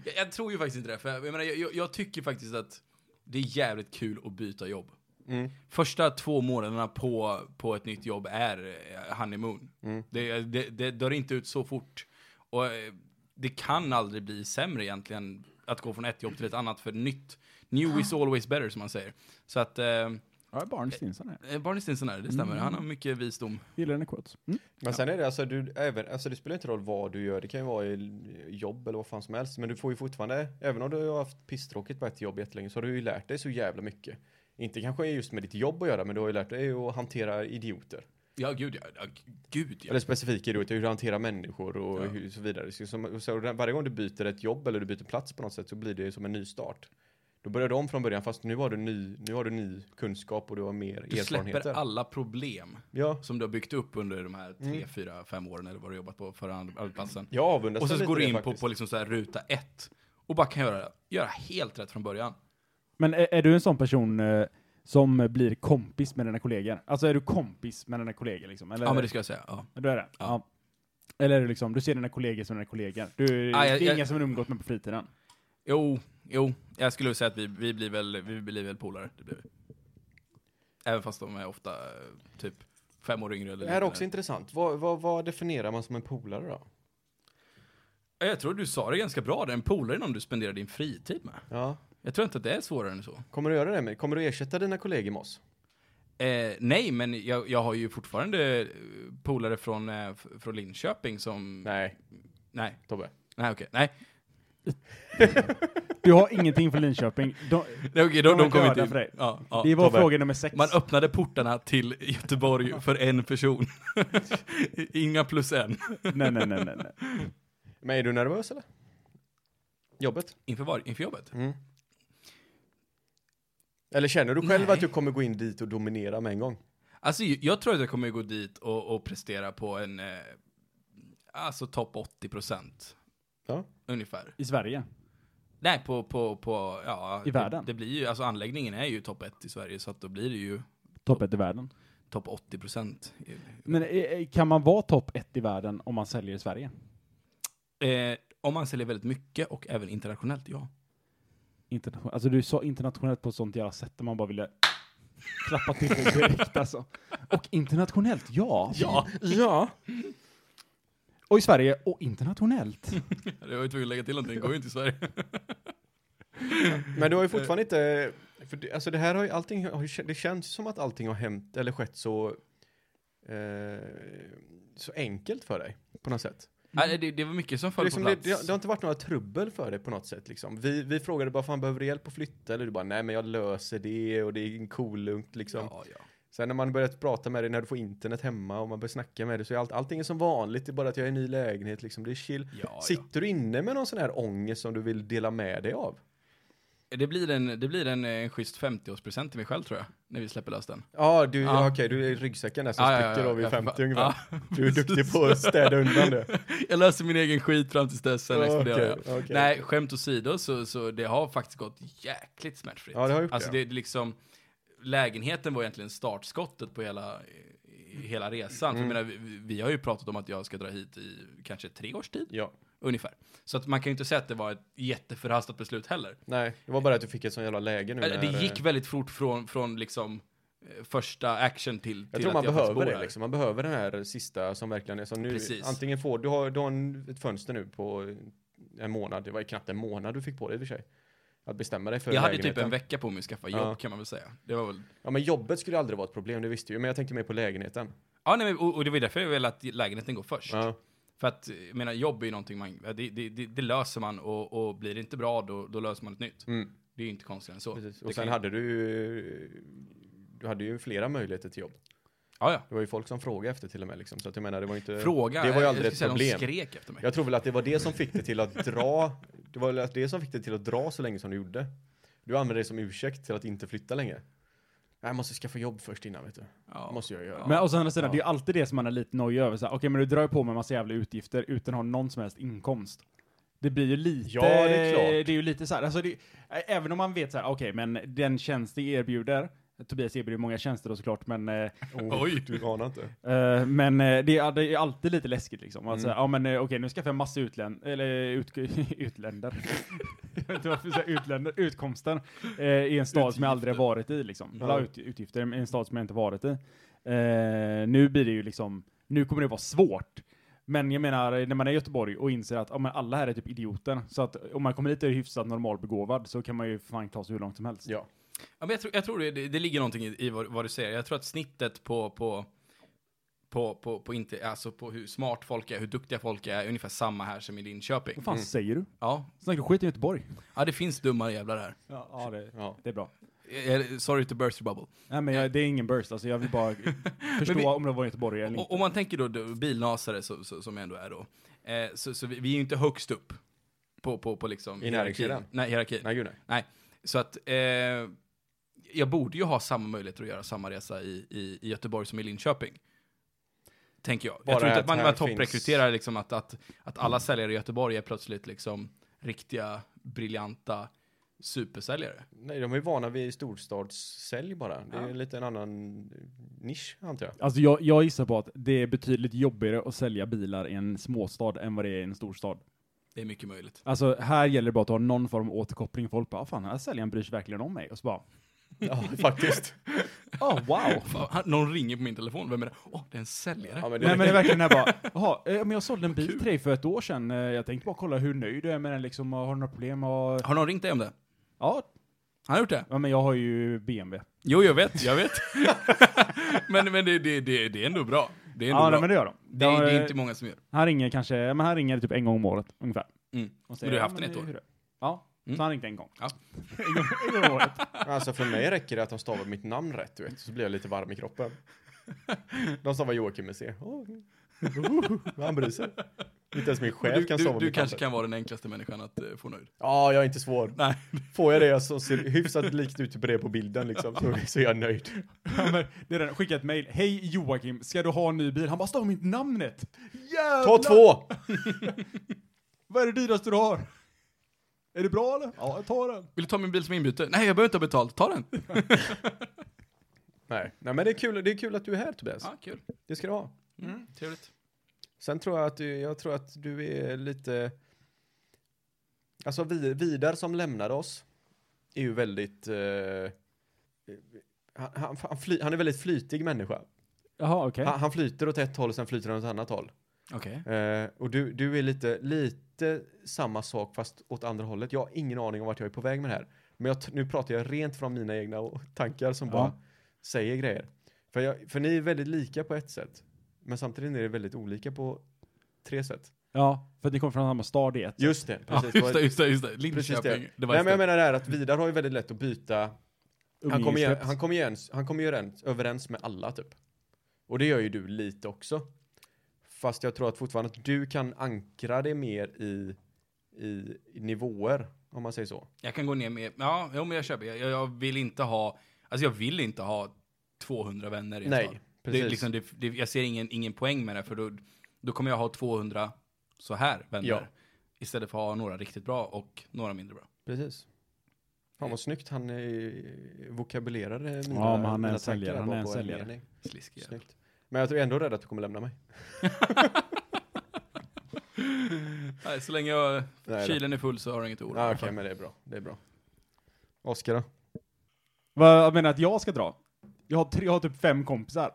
[SPEAKER 5] jag, jag tror ju faktiskt inte det. För jag, menar, jag, jag, jag tycker faktiskt att det är jävligt kul att byta jobb.
[SPEAKER 3] Mm.
[SPEAKER 5] Första två månaderna på, på ett nytt jobb är eh, honeymoon.
[SPEAKER 4] Mm.
[SPEAKER 5] Det, det, det dör inte ut så fort. Och eh, det kan aldrig bli sämre egentligen att gå från ett jobb till ett annat för nytt. New is always better som man säger. Så att eh,
[SPEAKER 4] Ja, barn Stinson här.
[SPEAKER 5] Eh, Barney Stinson är det, det stämmer. Han
[SPEAKER 4] Mm.
[SPEAKER 5] har mycket visdom.
[SPEAKER 4] Gillar den quotes. Mm.
[SPEAKER 3] Men sen är det alltså, du, även, alltså det spelar inte roll vad du gör, det kan ju vara i jobb eller vad fan som helst, men du får ju fortfarande, även om du har haft pisstråkigt på ett jobb jättelänge så har du ju lärt dig så jävla mycket. Inte kanske just med ditt jobb att göra, men du har ju lärt dig att hantera idioter.
[SPEAKER 5] Ja, gud ja. ja gud ja.
[SPEAKER 3] Eller specifika idioter, hur du hanterar människor och
[SPEAKER 5] Ja.
[SPEAKER 3] hur, så vidare. Så, som, så varje gång du byter ett jobb eller du byter plats på något sätt så blir det som en ny start. Då börjar du om från början fast nu har du ny, nu har du ny kunskap och du har mer
[SPEAKER 5] Du
[SPEAKER 3] erfarenheter.
[SPEAKER 5] släpper alla problem
[SPEAKER 3] Ja,
[SPEAKER 5] som du har byggt upp under de här
[SPEAKER 3] Mm.
[SPEAKER 5] tre, fyra, fem åren eller vad du jobbat på förra arbetsplatsen.
[SPEAKER 3] jag avundas
[SPEAKER 5] Och
[SPEAKER 3] dig
[SPEAKER 5] så
[SPEAKER 3] lite
[SPEAKER 5] går du
[SPEAKER 3] det
[SPEAKER 5] in på,
[SPEAKER 3] faktiskt.
[SPEAKER 5] på liksom så här ruta ett och bara kan göra, göra helt rätt från början.
[SPEAKER 4] Men är, är du en sån person eh, som blir kompis med dina kollegor? Alltså är du kompis med dina kollegor liksom? Eller,
[SPEAKER 5] Ja, men det ska jag säga. Ja.
[SPEAKER 4] Då är det? Ja.
[SPEAKER 5] Ja.
[SPEAKER 4] Eller är du liksom, du ser dina kollegor som dina kollegor? Du,
[SPEAKER 5] Ah,
[SPEAKER 4] det
[SPEAKER 5] jag-
[SPEAKER 4] är
[SPEAKER 5] jag-
[SPEAKER 4] ingen som du umgås med på fritiden?
[SPEAKER 5] Jo, jo. Jag skulle säga att vi, vi, blir, väl, vi blir väl polare. Det blir vi. Även fast de är ofta eh, typ fem år yngre eller
[SPEAKER 3] Det här är
[SPEAKER 5] liknande.
[SPEAKER 3] också intressant. Vad, vad, vad definierar man som en polare då?
[SPEAKER 5] Ja, Jag tror du sa det ganska bra, det är en polare är någon du spenderar din fritid med.
[SPEAKER 3] Ja.
[SPEAKER 5] Jag tror inte att det är svårare än så.
[SPEAKER 3] Kommer du göra det? Med, kommer du ersätta dina kollegor med oss?
[SPEAKER 5] Eh, nej, men jag, jag har ju fortfarande eh, polare från, eh, f- från Linköping som...
[SPEAKER 3] Nej,
[SPEAKER 5] Nej,
[SPEAKER 3] Tobbe.
[SPEAKER 5] nej okej. Nej,
[SPEAKER 4] Du har ingenting från Linköping. De,
[SPEAKER 5] nej okej, de,
[SPEAKER 4] De är
[SPEAKER 5] de
[SPEAKER 4] döda
[SPEAKER 5] kommer inte in.
[SPEAKER 4] för dig.
[SPEAKER 5] Ja, ja.
[SPEAKER 4] det var
[SPEAKER 3] Tobbe.
[SPEAKER 4] fråga nummer sex.
[SPEAKER 5] Man öppnade portarna till Göteborg för en person. (laughs) Inga plus en.
[SPEAKER 4] nej, nej, nej, nej, nej.
[SPEAKER 3] Men är du nervös eller? Jobbet? Mm.
[SPEAKER 5] Inför, var, inför jobbet?
[SPEAKER 3] Eller känner du själv
[SPEAKER 5] Nej.
[SPEAKER 3] att du kommer gå in dit och dominera med en gång?
[SPEAKER 5] Alltså, jag jag tror att jag kommer gå dit och, och prestera på en... Eh, alltså topp 80 procent.
[SPEAKER 3] Ja.
[SPEAKER 5] Ungefär.
[SPEAKER 4] I Sverige?
[SPEAKER 5] Nej, på, på, på, ja.
[SPEAKER 4] I världen.
[SPEAKER 5] Det, det blir ju, alltså anläggningen är ju topp 1 i Sverige, så att då blir det ju
[SPEAKER 4] Topp ett i världen.
[SPEAKER 5] topp 80 procent.
[SPEAKER 4] Men eh, eh, kan man vara topp ett i världen om man säljer i Sverige?
[SPEAKER 5] Eh, om man säljer väldigt mycket och även internationellt, ja.
[SPEAKER 4] Internation- alltså du sa internationellt på ett sånt jävla sätt där man bara ville klappa (laughs) till dig direkt alltså. Och internationellt, ja.
[SPEAKER 5] Ja.
[SPEAKER 4] ja. Och i Sverige, och internationellt.
[SPEAKER 5] (laughs) Jag var ju tvungen att lägga till någonting, det går ju inte i Sverige.
[SPEAKER 3] Men
[SPEAKER 5] Eh,
[SPEAKER 3] du har ju fortfarande inte, för det, alltså det här har ju allting, har ju kä- det känns som att allting har hänt eller skett så, eh, så enkelt för dig på något sätt.
[SPEAKER 5] (laughs) Nej, det, det var mycket som
[SPEAKER 3] För
[SPEAKER 5] föll
[SPEAKER 3] liksom
[SPEAKER 5] på
[SPEAKER 3] det,
[SPEAKER 5] plats.
[SPEAKER 3] det, har- det har inte varit några trubbel för dig på något sätt liksom. Vi, vi frågade bara, fan behöver du hjälp att flytta? Eller du bara, nej men jag löser det och det är en cool lugnt liksom.
[SPEAKER 5] ja, ja.
[SPEAKER 3] Sen när man börjat prata med dig, när du får internet hemma och man börjar snacka med dig så är allt, allting är som vanligt, det är bara att jag är i en ny lägenhet liksom, det är chill.
[SPEAKER 5] Ja,
[SPEAKER 3] Sitter du inne med någon sån här ångest som du vill dela med dig av?
[SPEAKER 5] ja. Det blir en, det blir en, eh, en schysst 50-årspresent till mig själv tror jag, när vi släpper lös den.
[SPEAKER 3] Ja, du,
[SPEAKER 5] Ja.
[SPEAKER 3] ja. okej, du är i ryggsäcken där som
[SPEAKER 5] Ja, ja,
[SPEAKER 3] spricker
[SPEAKER 5] ja,
[SPEAKER 3] då vid
[SPEAKER 5] ja,
[SPEAKER 3] 50
[SPEAKER 5] ja.
[SPEAKER 3] ungefär.
[SPEAKER 5] Ja,
[SPEAKER 3] Du är duktig
[SPEAKER 5] precis.
[SPEAKER 3] på att städa undan det.
[SPEAKER 5] Jag löser min egen skit fram tills dess, sen
[SPEAKER 3] Ja,
[SPEAKER 5] exploderar jag.
[SPEAKER 3] okej, okej.
[SPEAKER 5] Nej, skämt åsido så, så det har faktiskt gått jäkligt smärtfritt.
[SPEAKER 3] Ja, det har gjort
[SPEAKER 5] alltså
[SPEAKER 3] det.
[SPEAKER 5] det. är liksom, lägenheten var egentligen startskottet på hela,
[SPEAKER 3] Mm.
[SPEAKER 5] i- hela resan. För jag menar, vi, vi har ju pratat om att jag ska dra hit i kanske tre års tid.
[SPEAKER 3] Ja.
[SPEAKER 5] Ungefär. Så att man kan ju inte säga att det var ett jätteförhastat beslut heller.
[SPEAKER 3] Nej, det var bara att du fick ett sånt jävla läge nu.
[SPEAKER 5] Eller,
[SPEAKER 3] när,
[SPEAKER 5] det
[SPEAKER 3] eh,
[SPEAKER 5] gick väldigt fort från, från liksom eh, första action till,
[SPEAKER 3] Jag
[SPEAKER 5] till
[SPEAKER 3] tror
[SPEAKER 5] att
[SPEAKER 3] man
[SPEAKER 5] faktiskt bor
[SPEAKER 3] behöver det
[SPEAKER 5] här.
[SPEAKER 3] liksom. Man behöver den här sista som verkligen är som nu.
[SPEAKER 5] Precis.
[SPEAKER 3] Antingen får du, har, du har en, ett fönster nu på en månad. Det var ju knappt en månad du fick på dig i och för sig. Att bestämma dig för
[SPEAKER 5] Jag hade ju typ
[SPEAKER 3] lägenheten.
[SPEAKER 5] en vecka på mig att skaffa jobb
[SPEAKER 3] Ja.
[SPEAKER 5] kan man väl säga. Det var väl...
[SPEAKER 3] Ja men jobbet skulle aldrig vara ett problem, det visste du ju. Men jag tänkte mer på lägenheten.
[SPEAKER 5] Ja, nej, men- och, och det var ju därför jag ville att lägenheten går först.
[SPEAKER 3] Ja.
[SPEAKER 5] För att, jag menar, jobb är ju någonting man, det, det, det, det löser man och, och blir det inte bra då, då löser man ett nytt.
[SPEAKER 3] Mm.
[SPEAKER 5] Det är ju inte konstigt än så.
[SPEAKER 3] Precis.
[SPEAKER 5] Det
[SPEAKER 3] Och sen
[SPEAKER 5] kan-
[SPEAKER 3] hade du ju, du hade ju flera möjligheter till jobb.
[SPEAKER 5] Ja, ja.
[SPEAKER 3] Det var ju folk som frågade efter till och med liksom. Så att jag menar, det var inte...
[SPEAKER 5] Fråga,
[SPEAKER 3] det var ju
[SPEAKER 5] jag
[SPEAKER 3] aldrig ett
[SPEAKER 5] skulle säga,
[SPEAKER 3] problem.
[SPEAKER 5] De skrek efter mig.
[SPEAKER 3] Jag tror väl att det var det som fick dig till att dra. Det var väl att det som fick dig till att dra så länge som du gjorde. Du använde det som ursäkt till att inte flytta längre. Jag måste skaffa jobb först innan vet du.
[SPEAKER 5] Ja.
[SPEAKER 3] Måste jag göra.
[SPEAKER 4] Men å andra sidan,
[SPEAKER 3] Ja.
[SPEAKER 4] det är ju alltid det som man är lite nojig över. Så här, Okej, men du drar ju på med en massa jävla utgifter utan att ha någon som helst inkomst. Det blir ju lite...
[SPEAKER 3] Ja, det är klart.
[SPEAKER 4] Det är ju lite så här, alltså det, ä- även om man vet så här, okej, men den tjänst det erbjuder, Tobias erbjuder många tjänster då såklart, men, eh,
[SPEAKER 3] Oh,
[SPEAKER 5] Oj.
[SPEAKER 3] Du anar inte.
[SPEAKER 4] eh, men eh, det, är, det är alltid lite läskigt liksom. Alltså,
[SPEAKER 3] Mm.
[SPEAKER 4] ja men eh, okej, nu ska jag få en massa utlän, eller ut, (laughs) utländer. jag vet inte varför jag säger utländer, utkomster eh, i en stad som jag aldrig har varit i liksom.
[SPEAKER 3] Ja.
[SPEAKER 4] Eller ut, utgifter i en stad som jag inte varit i. Eh, nu blir det ju liksom, nu kommer det vara svårt. Men jag menar, när man är i Göteborg och inser att ja, men alla här är typ idioter, så att om man kommer dit och är hyfsat normalbegåvad så kan man ju fan ta sig hur långt som helst.
[SPEAKER 3] Ja.
[SPEAKER 5] Ja, men jag tror, jag tror det, det, det ligger någonting i, i vad, vad du säger. Jag tror att snittet på, på, på, på, på, inte, alltså på hur smart folk är, hur duktiga folk är, är ungefär samma här som i Linköping.
[SPEAKER 4] Vad fan säger du?
[SPEAKER 5] Ja,
[SPEAKER 4] Snackar du skit i Göteborg?
[SPEAKER 5] ja det finns dumma jävlar här.
[SPEAKER 4] Ja, ja, det,
[SPEAKER 3] Ja.
[SPEAKER 4] det är bra.
[SPEAKER 5] Eh, Sorry to burst your bubble.
[SPEAKER 4] Nej men jag, det är ingen burst, alltså jag vill
[SPEAKER 5] (laughs)
[SPEAKER 4] bara förstå
[SPEAKER 5] Men vi-
[SPEAKER 4] om det var Göteborg eller
[SPEAKER 5] Och,
[SPEAKER 4] inte.
[SPEAKER 5] om man tänker då, då bilnasare så, så, som jag ändå är då, eh, så, så vi, vi är ju inte högst upp på, på, på liksom
[SPEAKER 3] I näringskedjan?
[SPEAKER 5] hierarkin. Nej, hierarkin.
[SPEAKER 3] Nej gud nej.
[SPEAKER 5] Så att eh, jag borde ju ha samma möjligheter att göra samma resa i, i, i Göteborg som i Linköping. Tänker jag.
[SPEAKER 3] Bara
[SPEAKER 5] jag tror inte att
[SPEAKER 3] att
[SPEAKER 5] man,
[SPEAKER 3] här
[SPEAKER 5] man
[SPEAKER 3] finns-
[SPEAKER 5] topprekryterar liksom att, att, att alla säljare i Göteborg är plötsligt liksom riktiga, briljanta supersäljare.
[SPEAKER 3] Nej, de är ju vana vid storstadssälj bara. Det är
[SPEAKER 5] Ja.
[SPEAKER 3] lite en annan nisch antar jag.
[SPEAKER 4] Alltså jag, jag gissar på att det är betydligt jobbigare att sälja bilar i en småstad än vad det är i en storstad.
[SPEAKER 5] Det är mycket möjligt.
[SPEAKER 4] Alltså här gäller det bara att ha någon form av återkoppling. Folk bara, "Ah, fan den här säljaren bryr sig verkligen om mig. Och så bara,
[SPEAKER 3] Ja, (laughs) faktiskt.
[SPEAKER 4] oh
[SPEAKER 5] (laughs)
[SPEAKER 4] wow.
[SPEAKER 5] Fan, han- Någon ringer på min telefon, vem är det? Åh, det är en säljare.
[SPEAKER 3] Ja, men det,
[SPEAKER 4] Nej men det är verkligen här bara, jaha, eh, men jag sålde en bil till dig för ett år sedan. Eh, Jag tänkte bara kolla hur nöjd du är med den liksom, och har du några problem? Och...
[SPEAKER 5] Har någon ringt dig om det?
[SPEAKER 4] Ja,
[SPEAKER 5] Han har gjort det?
[SPEAKER 4] ja, men jag har ju BMW.
[SPEAKER 5] Jo, jag vet, jag vet. (laughs) men men det, det, det, det är ändå bra. Det är ändå
[SPEAKER 4] Ja
[SPEAKER 5] bra.
[SPEAKER 4] nej, men det gör de.
[SPEAKER 5] det,
[SPEAKER 4] De,
[SPEAKER 5] är, det
[SPEAKER 4] eh,
[SPEAKER 5] är inte många som gör.
[SPEAKER 4] Han ringer kanske, ja, men han ringer typ en gång om året ungefär.
[SPEAKER 5] Mm.
[SPEAKER 4] Och
[SPEAKER 5] Men du har
[SPEAKER 4] "Ja,
[SPEAKER 5] haft den
[SPEAKER 4] men
[SPEAKER 5] ett
[SPEAKER 4] det är
[SPEAKER 5] år."
[SPEAKER 4] hur det är." Ja,
[SPEAKER 5] Mm.
[SPEAKER 4] så han ringde en gång. (laughs)
[SPEAKER 5] Ja.
[SPEAKER 4] en gång, en gång om året.
[SPEAKER 3] alltså för mig räcker det att de stavar mitt namn rätt, du vet. Så blir jag lite varm i kroppen. De stavar Joakim med C. Åh. Han bryr sig. Inte ens min
[SPEAKER 5] Men
[SPEAKER 3] chef
[SPEAKER 5] du,
[SPEAKER 3] kan
[SPEAKER 5] du,
[SPEAKER 3] stava
[SPEAKER 5] du
[SPEAKER 3] mitt
[SPEAKER 5] kanske
[SPEAKER 3] namn rätt.
[SPEAKER 5] kan vara den enklaste människan att eh, få nöjd.
[SPEAKER 3] Ja, jag är inte svår.
[SPEAKER 5] Nej.
[SPEAKER 3] Får jag det som ser hyfsat likt ut på det på bilden liksom, så, så är jag nöjd.
[SPEAKER 4] Ja, men det är den. Skicka ett mejl. Hej Joakim, ska du ha en ny bil? Han bara, stav mitt namnet. Jävlar!
[SPEAKER 3] Ta två!
[SPEAKER 4] Vad är det dyraste du har? Är det bra eller? Ja, ta den.
[SPEAKER 5] Vill du ta min bil som inbyte? Nej, jag behöver inte ha betalt. Ta den.
[SPEAKER 3] Nej, Nej men det är, kul, det är kul att du är här Tobias.
[SPEAKER 5] Ja, kul.
[SPEAKER 3] Det ska du ha.
[SPEAKER 5] Mm, trevligt.
[SPEAKER 3] Sen tror jag att du, jag tror att du är lite... Alltså vi, Vidar som lämnade oss är ju väldigt... Eh, han, han, han, fly, han är väldigt flytig människa.
[SPEAKER 4] Jaha, okej.
[SPEAKER 3] Han, han flyter åt ett håll och sen flyter han åt ett annat håll.
[SPEAKER 5] Okej.
[SPEAKER 3] Eh, och du, du är lite, lite samma sak fast åt andra hållet. Jag har ingen aning om vart jag är på väg med det här. Men jag, t- nu pratar jag rent från mina egna o- tankar som
[SPEAKER 4] Ja.
[SPEAKER 3] bara säger grejer. För, jag, för ni är väldigt lika på ett sätt. Men samtidigt är ni väldigt olika på tre sätt.
[SPEAKER 4] Ja, för att ni kommer från samma stad i ett.
[SPEAKER 3] Just det,
[SPEAKER 5] Ja,
[SPEAKER 3] precis.
[SPEAKER 5] just det, just det, just det.
[SPEAKER 3] Precis
[SPEAKER 5] Linköping.
[SPEAKER 3] det.
[SPEAKER 5] Det. var
[SPEAKER 3] Nej, men jag
[SPEAKER 5] just det.
[SPEAKER 3] menar det här att Vidar har ju väldigt lätt att byta. Han kommer, ju,
[SPEAKER 4] Umgängeskrets.
[SPEAKER 3] han kommer ju, ens, han kommer ju överens, överens med alla typ. Och det gör ju du lite också. Fast jag tror att fortfarande att du kan ankra det mer i, i, i nivåer, om man säger så.
[SPEAKER 5] Jag kan gå ner med... Ja, jo, men jag köper. Jag, jag vill inte ha... Alltså jag vill inte ha 200 vänner i en stad.
[SPEAKER 3] Nej,
[SPEAKER 5] Det,
[SPEAKER 3] precis.
[SPEAKER 5] är liksom, det, det, jag ser ingen, ingen poäng med det, för då, då kommer jag ha 200 så här vänner.
[SPEAKER 3] Ja.
[SPEAKER 5] Istället för att ha några riktigt bra och några mindre bra.
[SPEAKER 3] Precis. Fan vad snyggt han eh, vokabulerade mina,
[SPEAKER 4] Ja, men han är
[SPEAKER 3] mina
[SPEAKER 4] en
[SPEAKER 3] tankar
[SPEAKER 4] säljare,
[SPEAKER 3] där
[SPEAKER 4] han är
[SPEAKER 3] bara
[SPEAKER 4] en
[SPEAKER 3] på
[SPEAKER 4] säljare.
[SPEAKER 3] mening.
[SPEAKER 5] Sliskig jävel.
[SPEAKER 3] Snyggt. Men jag tror ändå rädd att du kommer lämna mig.
[SPEAKER 5] Nej, så länge jag,
[SPEAKER 3] Nej,
[SPEAKER 5] kylen är full så har jag inget att oroa
[SPEAKER 3] Ja,
[SPEAKER 5] mig
[SPEAKER 3] Ah, Okej,
[SPEAKER 5] för.
[SPEAKER 3] men det är bra. Det är bra. Oskar då?
[SPEAKER 4] Vad jag menar att jag ska dra? Jag har, tre, jag har typ fem kompisar.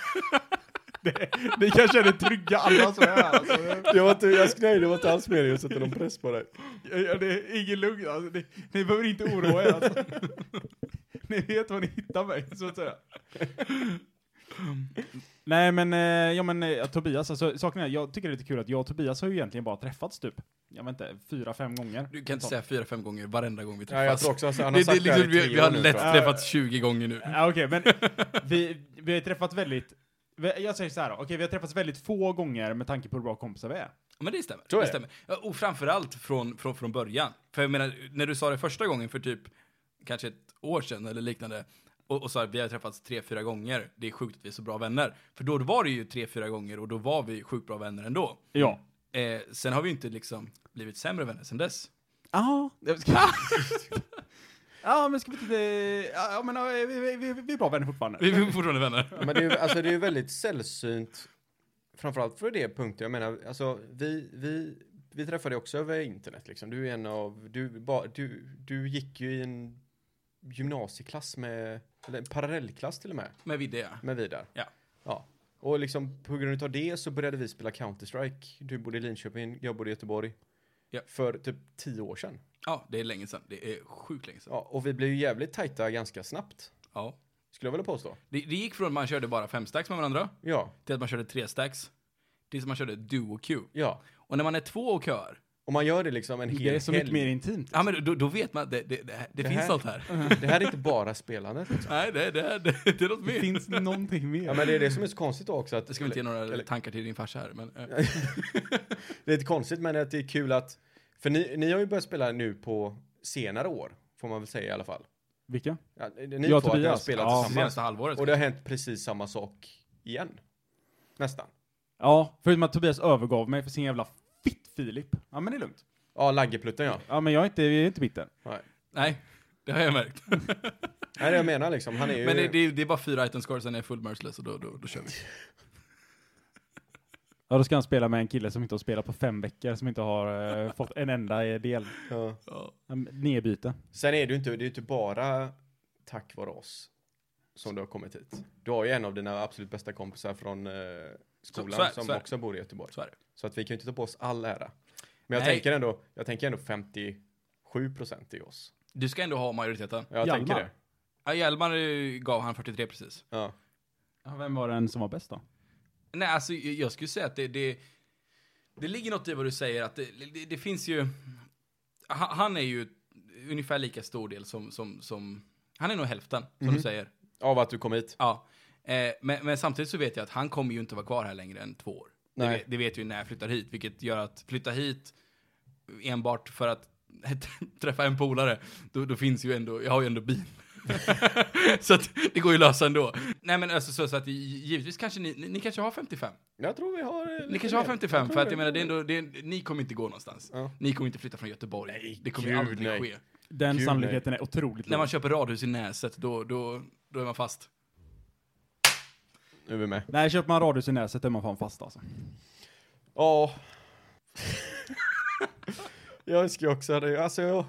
[SPEAKER 4] (laughs) det, det kanske är det trygga alla som är här. Alltså.
[SPEAKER 3] Det var inte, jag, nej, det var inte alls meningen att sätta någon press på dig.
[SPEAKER 4] Ja, det är ingen lugn alltså. ni, ni behöver inte oroa er alltså. (laughs) Ni vet var ni hittar mig, så att säga. Nej men, eh, ja men eh, Tobias, alltså saken är, jag tycker det är lite kul att jag och Tobias har ju egentligen bara träffats typ, jag vet inte, fyra, fem gånger.
[SPEAKER 5] Du kan inte säga fyra, fem gånger varenda gång vi träffas.
[SPEAKER 3] Ja, jag tror också alltså, han har
[SPEAKER 5] det, det,
[SPEAKER 3] sagt det,
[SPEAKER 5] liksom,
[SPEAKER 3] här i tre
[SPEAKER 5] vi, vi har
[SPEAKER 3] år nu,
[SPEAKER 5] lätt
[SPEAKER 3] tror jag.
[SPEAKER 5] träffats 20 gånger nu.
[SPEAKER 4] Ja, okej, men vi, vi har ju träffats väldigt, vi- jag säger så här då, okej vi har träffats väldigt få gånger med tanke på hur bra kompisar vi är.
[SPEAKER 5] Men det stämmer.
[SPEAKER 3] Så är
[SPEAKER 5] Det
[SPEAKER 3] det.
[SPEAKER 5] stämmer. Ja, Och framförallt från, från, från början. För jag menar, när du sa det första gången för typ kanske ett år sedan eller liknande och, och sa att vi har träffats tre, fyra gånger, det är sjukt att vi är så bra vänner. För då var det ju tre, fyra gånger och då var vi sjukt bra vänner ändå.
[SPEAKER 4] Ja.
[SPEAKER 5] Eh, sen har vi ju inte liksom blivit sämre vänner sen dess. (laughs)
[SPEAKER 4] Ja. (laughs) Ja, men ska vi inte... Ja, men ja, vi, vi, vi, vi är bra vänner fortfarande.
[SPEAKER 5] Vi är fortfarande vänner.
[SPEAKER 3] Men det är ju alltså, det är ju väldigt sällsynt, framförallt för det punkten. Jag menar, alltså, vi, vi, vi träffade ju också över internet. Liksom. Du är en av, du, ba, du, du gick ju i en gymnasieklass med, eller en parallellklass till och med,
[SPEAKER 5] Med Vidde,
[SPEAKER 3] med Vidar.
[SPEAKER 5] Ja.
[SPEAKER 3] ja. Och liksom på grund av det så började vi spela Counter-Strike. Du bodde i Linköping, jag bodde i Göteborg.
[SPEAKER 5] Ja.
[SPEAKER 3] För typ tio år sedan.
[SPEAKER 5] Ja, det är länge sedan. Det är sjukt länge sedan.
[SPEAKER 3] Ja, och vi blev ju jävligt tajta ganska snabbt.
[SPEAKER 5] Ja.
[SPEAKER 3] Skulle jag vilja påstå.
[SPEAKER 5] Det, det gick från att man körde bara fem stacks med varandra
[SPEAKER 3] Ja,
[SPEAKER 5] till att man körde tre stacks. Tills man körde duo queue.
[SPEAKER 3] ja.
[SPEAKER 5] Och när man är två och kör,
[SPEAKER 3] Och man gör det liksom en hel
[SPEAKER 4] Det är så mycket
[SPEAKER 3] helg.
[SPEAKER 4] mer intimt.
[SPEAKER 5] ja men då, då vet man att det, det, det, det, finns
[SPEAKER 3] här-
[SPEAKER 5] något här.
[SPEAKER 3] (laughs) Det här är inte bara
[SPEAKER 5] (laughs)
[SPEAKER 3] spelandet. Liksom.
[SPEAKER 5] Nej, det, det, det, det är något mer.
[SPEAKER 4] Det finns någonting mer.
[SPEAKER 3] Ja, men det är det som är så konstigt också. Att,
[SPEAKER 5] Jag ska väl inte ge några
[SPEAKER 3] eller-
[SPEAKER 5] tankar till din farsa här, men... eh,
[SPEAKER 3] det är lite konstigt, men att det är kul att... För ni, ni har ju börjat spela nu på senare år, får man väl säga i alla fall.
[SPEAKER 4] Vilka?
[SPEAKER 3] Ja, ni
[SPEAKER 4] Jag
[SPEAKER 3] två
[SPEAKER 4] och
[SPEAKER 3] att ni har
[SPEAKER 4] Tobias.
[SPEAKER 3] spelat
[SPEAKER 4] Ja,
[SPEAKER 3] tillsammans.
[SPEAKER 5] senaste halvåret.
[SPEAKER 3] Och det har hänt precis samma sak igen. Nästan.
[SPEAKER 4] Ja, förutom att Tobias övergav mig för sin jävla fitt-Filip. Ja, men det är lugnt.
[SPEAKER 3] Ja, Laggepluttan ja.
[SPEAKER 4] Ja, men jag är inte, jag är inte bitter.
[SPEAKER 3] Nej,
[SPEAKER 5] Nej, det har jag märkt.
[SPEAKER 3] Nej, det jag menar liksom. Han är ju...
[SPEAKER 5] Men det, det, är- det är bara fyra items kvar, sen är jag full merciless och då, då, då kör vi.
[SPEAKER 4] Ja, då ska han spela med en kille som inte har spelat på fem veckor, som inte har eh, fått en enda eh, del.
[SPEAKER 3] ja.
[SPEAKER 5] Ja.
[SPEAKER 4] Ja, men Nedbyte.
[SPEAKER 3] Sen är det ju inte, det är ju inte bara tack vare oss som du har kommit hit. Du har ju en av dina absolut bästa kompisar från eh, skolan
[SPEAKER 5] så är-
[SPEAKER 3] som
[SPEAKER 5] så är det.
[SPEAKER 3] också bor i Göteborg.
[SPEAKER 5] Så är det.
[SPEAKER 3] Så att vi kan ju inte ta på oss all ära. Men jag
[SPEAKER 5] Nej.
[SPEAKER 3] tänker ändå, jag tänker ändå 57 procent i oss.
[SPEAKER 5] Du ska ändå ha majoriteten.
[SPEAKER 3] Ja, Jag
[SPEAKER 4] Hjalmar.
[SPEAKER 3] tänker det.
[SPEAKER 5] Ja, Hjalmar eh, gav han 43 precis.
[SPEAKER 3] Ja.
[SPEAKER 4] Ja, vem var den som var bäst då?
[SPEAKER 5] Nej, alltså jag jag skulle säga att det, det, det ligger något i vad du säger, att det, det, det finns ju... ha- Han är ju ungefär lika stor del som... som, som han är nog hälften, som du säger.
[SPEAKER 3] Av att du kom hit.
[SPEAKER 5] Ja. Eh, men, men samtidigt så vet jag att han kommer ju inte vara kvar här längre än två år. Det,
[SPEAKER 3] Nej.
[SPEAKER 5] vet- det vet jag ju när jag flyttar hit, vilket gör att flytta hit enbart för att (laughs) träffa en polare, då, då finns ju ändå, jag har ju ändå bil. (laughs) så att det går ju att lösa ändå. Nej men alltså så, så att givetvis kanske ni, ni, ni kanske har 55.
[SPEAKER 3] Jag tror vi har... eh,
[SPEAKER 5] Ni
[SPEAKER 3] lite
[SPEAKER 5] kanske har
[SPEAKER 3] mer.
[SPEAKER 5] 55,
[SPEAKER 3] tror
[SPEAKER 5] för att
[SPEAKER 3] det.
[SPEAKER 5] jag menar det är ändå, det är, ni kommer inte gå någonstans.
[SPEAKER 3] Ja.
[SPEAKER 5] Ni kommer inte flytta från Göteborg. det kommer ju
[SPEAKER 3] gud,
[SPEAKER 5] aldrig
[SPEAKER 3] nej.
[SPEAKER 5] ske.
[SPEAKER 4] Den
[SPEAKER 3] Kul,
[SPEAKER 4] sannolikheten är otroligt
[SPEAKER 5] När man
[SPEAKER 4] låg.
[SPEAKER 5] köper radhus i Näset, då, då, då är man fast.
[SPEAKER 3] Nu är vi med.
[SPEAKER 4] Nej, köper man radhus i Näset är man fan fast alltså.
[SPEAKER 3] Ja. (laughs) jag önskar ju också det. Alltså, jag,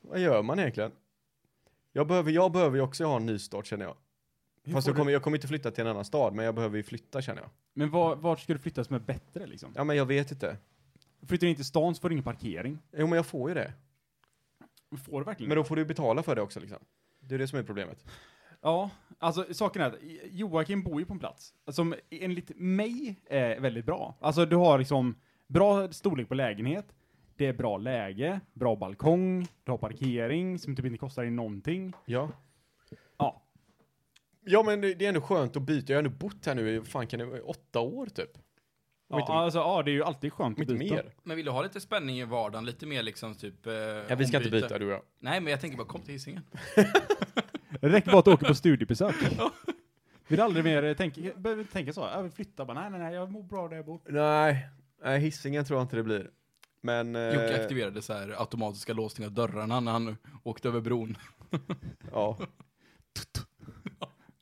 [SPEAKER 3] vad gör man egentligen? Jag behöver, jag behöver ju också ha en nystart känner jag. Fast jag kommer, jag kommer inte flytta till en annan stad, men jag behöver ju flytta känner jag.
[SPEAKER 4] Men var, vart ska du flytta som är bättre liksom?
[SPEAKER 3] Ja, men jag vet inte.
[SPEAKER 4] Flyttar du in till stan så får du ingen parkering.
[SPEAKER 3] Jo, men jag får ju det.
[SPEAKER 4] Får du verkligen?
[SPEAKER 3] Men då får du ju betala för det också liksom. Det är det som är problemet.
[SPEAKER 4] Ja, alltså saken är att Joakim bor ju på en plats som enligt mig är väldigt bra. Alltså du har liksom bra storlek på lägenhet, det är bra läge, bra balkong, du har parkering som typ inte kostar dig någonting.
[SPEAKER 3] Ja.
[SPEAKER 4] Ja,
[SPEAKER 3] Ja, men det det är ändå skönt att byta. Jag har ändå bott här nu i, fan kan det vara, åtta år typ. Och
[SPEAKER 4] ja
[SPEAKER 3] inte-
[SPEAKER 4] alltså ja, det är ju alltid skönt att
[SPEAKER 3] Inte
[SPEAKER 4] byta.
[SPEAKER 3] mer.
[SPEAKER 5] Men vill du ha lite spänning i vardagen? Lite mer liksom typ... Eh,
[SPEAKER 3] Ja, vi ska inte byta du och jag.
[SPEAKER 5] Nej, men jag tänker bara kom till Hisingen.
[SPEAKER 4] Det (laughs) räcker bara att du åker på (laughs) studiebesök. Vill aldrig mer tänka, behöver inte tänka så, jag vill flytta bara, nej nej nej, jag mår bra där jag bor.
[SPEAKER 3] Nej, nej hissingen tror jag inte det blir. Men... eh,
[SPEAKER 5] Jocke aktiverade så här automatiska låsningar av dörrarna när han åkte över bron.
[SPEAKER 3] Ja,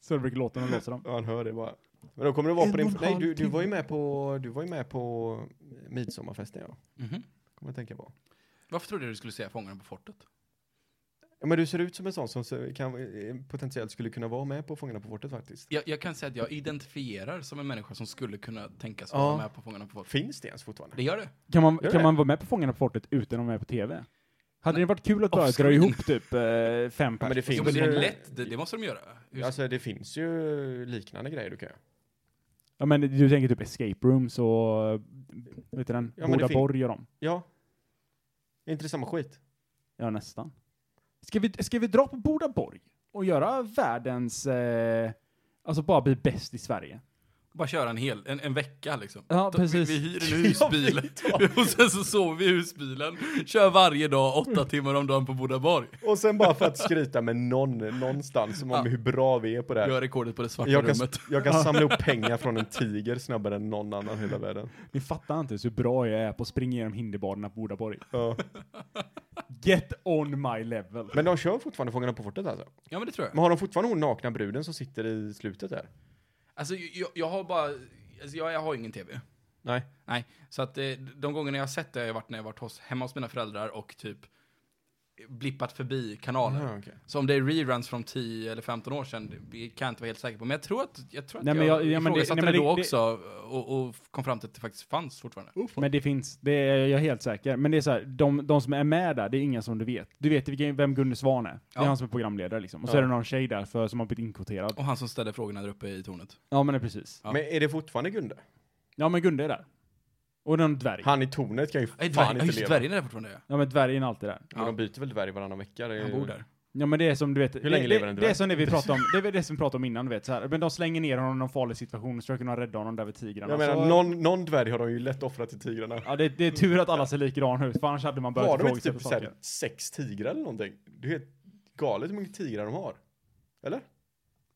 [SPEAKER 4] Så det brukar låta när de låser dem.
[SPEAKER 3] han hör det bara. Men då kommer du vara på din...
[SPEAKER 4] En och en
[SPEAKER 3] Nej,
[SPEAKER 4] halv
[SPEAKER 3] du, du
[SPEAKER 4] timme.
[SPEAKER 3] var ju med på... Du var ju med på midsommarfesten ja.
[SPEAKER 5] Mhm.
[SPEAKER 3] Kommer jag tänka på.
[SPEAKER 5] Varför trodde du du skulle säga Fångarna på fortet?
[SPEAKER 3] Ja, men du ser ut som en sån som ser- kan, eh, potentiellt skulle kunna vara med på Fångarna på fortet faktiskt.
[SPEAKER 5] Jag, jag kan säga att jag identifierar som en människa som skulle kunna tänkas
[SPEAKER 3] Ja.
[SPEAKER 5] vara med på Fångarna på fortet.
[SPEAKER 3] Finns det ens fortfarande?
[SPEAKER 5] Det gör det.
[SPEAKER 4] Kan man,
[SPEAKER 3] Gör
[SPEAKER 4] kan
[SPEAKER 3] det.
[SPEAKER 4] man vara med på Fångarna på fortet utan att vara med på TV? Hade det varit kul att bara dra
[SPEAKER 5] Offscreen.
[SPEAKER 4] ihop typ eh, fem
[SPEAKER 3] Ja, men det
[SPEAKER 4] pers?
[SPEAKER 5] Jo,
[SPEAKER 3] finns
[SPEAKER 5] men det
[SPEAKER 3] ju...
[SPEAKER 5] är lätt. Det, det måste de göra. Hur-
[SPEAKER 3] Alltså det finns ju liknande grejer du kan göra.
[SPEAKER 4] Ja, men du tänker typ escape rooms och, eh, vet du den?
[SPEAKER 3] Ja, men det
[SPEAKER 4] Boda
[SPEAKER 3] fin-
[SPEAKER 4] Borg och dem.
[SPEAKER 3] Ja. Är inte det samma skit?
[SPEAKER 4] Ja, nästan. Ska vi, ska vi dra på Boda Borg och göra världens, eh, alltså bara bli bäst i Sverige?
[SPEAKER 5] Bara köra en hel, en, en vecka liksom.
[SPEAKER 4] Ja,
[SPEAKER 5] Ta-
[SPEAKER 4] precis.
[SPEAKER 5] Vi, vi
[SPEAKER 3] (laughs)
[SPEAKER 5] hyr en husbil. (laughs) och sen så sover vi i husbilen. Kör varje dag, åtta timmar om dagen på Bodaborg.
[SPEAKER 3] Och sen bara för att skryta med någon någonstans om
[SPEAKER 5] Ja.
[SPEAKER 3] hur bra vi är på det här.
[SPEAKER 5] Gör rekordet på det svarta
[SPEAKER 3] Jag kan,
[SPEAKER 5] rummet.
[SPEAKER 3] jag kan samla upp pengar från en tiger snabbare än någon annan i hela världen.
[SPEAKER 4] Ni fattar inte ens hur bra jag är på att springa genom hinderbanorna på Boda Borg.
[SPEAKER 3] Ja.
[SPEAKER 4] Get on my level.
[SPEAKER 3] Men de kör fortfarande Fångarna på fortet alltså?
[SPEAKER 5] Ja men det tror jag.
[SPEAKER 3] Men har de fortfarande hon nakna bruden som sitter i slutet där?
[SPEAKER 5] Alltså jag, jag har bara, alltså, jag, jag har ingen tv.
[SPEAKER 3] Nej.
[SPEAKER 5] Nej, så att eh, de gångerna jag har sett det har jag varit när jag varit hos, hemma hos mina föräldrar och typ blippat förbi kanalen.
[SPEAKER 3] Aha, Ah, okej.
[SPEAKER 5] Så om det är reruns från 10 eller 15 år sedan, det kan jag inte vara helt säker på. Men jag tror att jag, tror att
[SPEAKER 4] Nej, men
[SPEAKER 5] jag,
[SPEAKER 4] jag- ja, men det-
[SPEAKER 5] ifrågasatte
[SPEAKER 4] nej, men
[SPEAKER 5] det,
[SPEAKER 4] det-
[SPEAKER 5] då
[SPEAKER 4] det-
[SPEAKER 5] också och, och kom fram till att det faktiskt fanns fortfarande.
[SPEAKER 4] Men det finns, det är jag är helt säker. Men det är så här, de, de som är med där, det är inga som du vet. Du vet vilken- vem Gunde Svan är. Det är
[SPEAKER 5] Ja.
[SPEAKER 4] han som är programledare liksom. Och så
[SPEAKER 3] Ja.
[SPEAKER 4] är det någon tjej där för, som har blivit inkvoterad.
[SPEAKER 5] Och han som ställde frågorna där uppe i tornet.
[SPEAKER 4] Ja men det är precis.
[SPEAKER 5] Ja.
[SPEAKER 3] Men är det fortfarande Gunde?
[SPEAKER 4] Ja men Gunde är där. Och någon dvärg.
[SPEAKER 3] Han i tornet kan ju
[SPEAKER 5] Nej,
[SPEAKER 3] fan
[SPEAKER 5] dvärg, ja,
[SPEAKER 3] inte
[SPEAKER 5] just det,
[SPEAKER 3] leva.
[SPEAKER 5] dvärgen är där fortfarande. ja.
[SPEAKER 4] Ja men dvärgen är alltid där.
[SPEAKER 3] Men de byter väl dvärg varannan vecka? Det är
[SPEAKER 5] Han
[SPEAKER 3] ju-
[SPEAKER 5] bor där.
[SPEAKER 4] Ja men det är som du vet, det,
[SPEAKER 3] länge lever
[SPEAKER 4] det,
[SPEAKER 3] en
[SPEAKER 4] det är
[SPEAKER 3] dvärg?
[SPEAKER 4] som det vi pratade om, det är väl det som vi pratade om innan du vet så här. Men de slänger ner honom i någon farlig situation och så försöker de rädda honom där vid tigrarna.
[SPEAKER 3] Jag menar,
[SPEAKER 4] så,
[SPEAKER 3] någon, någon dvärg har de ju lätt offrat till tigrarna.
[SPEAKER 4] Ja det, det är tur att alla ser likadana ut, för annars hade man börjat
[SPEAKER 3] Har de
[SPEAKER 4] fråga
[SPEAKER 3] inte
[SPEAKER 4] sig
[SPEAKER 3] typ
[SPEAKER 4] på
[SPEAKER 3] så här
[SPEAKER 4] saker.
[SPEAKER 3] sex tigrar eller någonting? Det är helt galet hur många tigrar de har.
[SPEAKER 5] Typ.
[SPEAKER 3] Eller?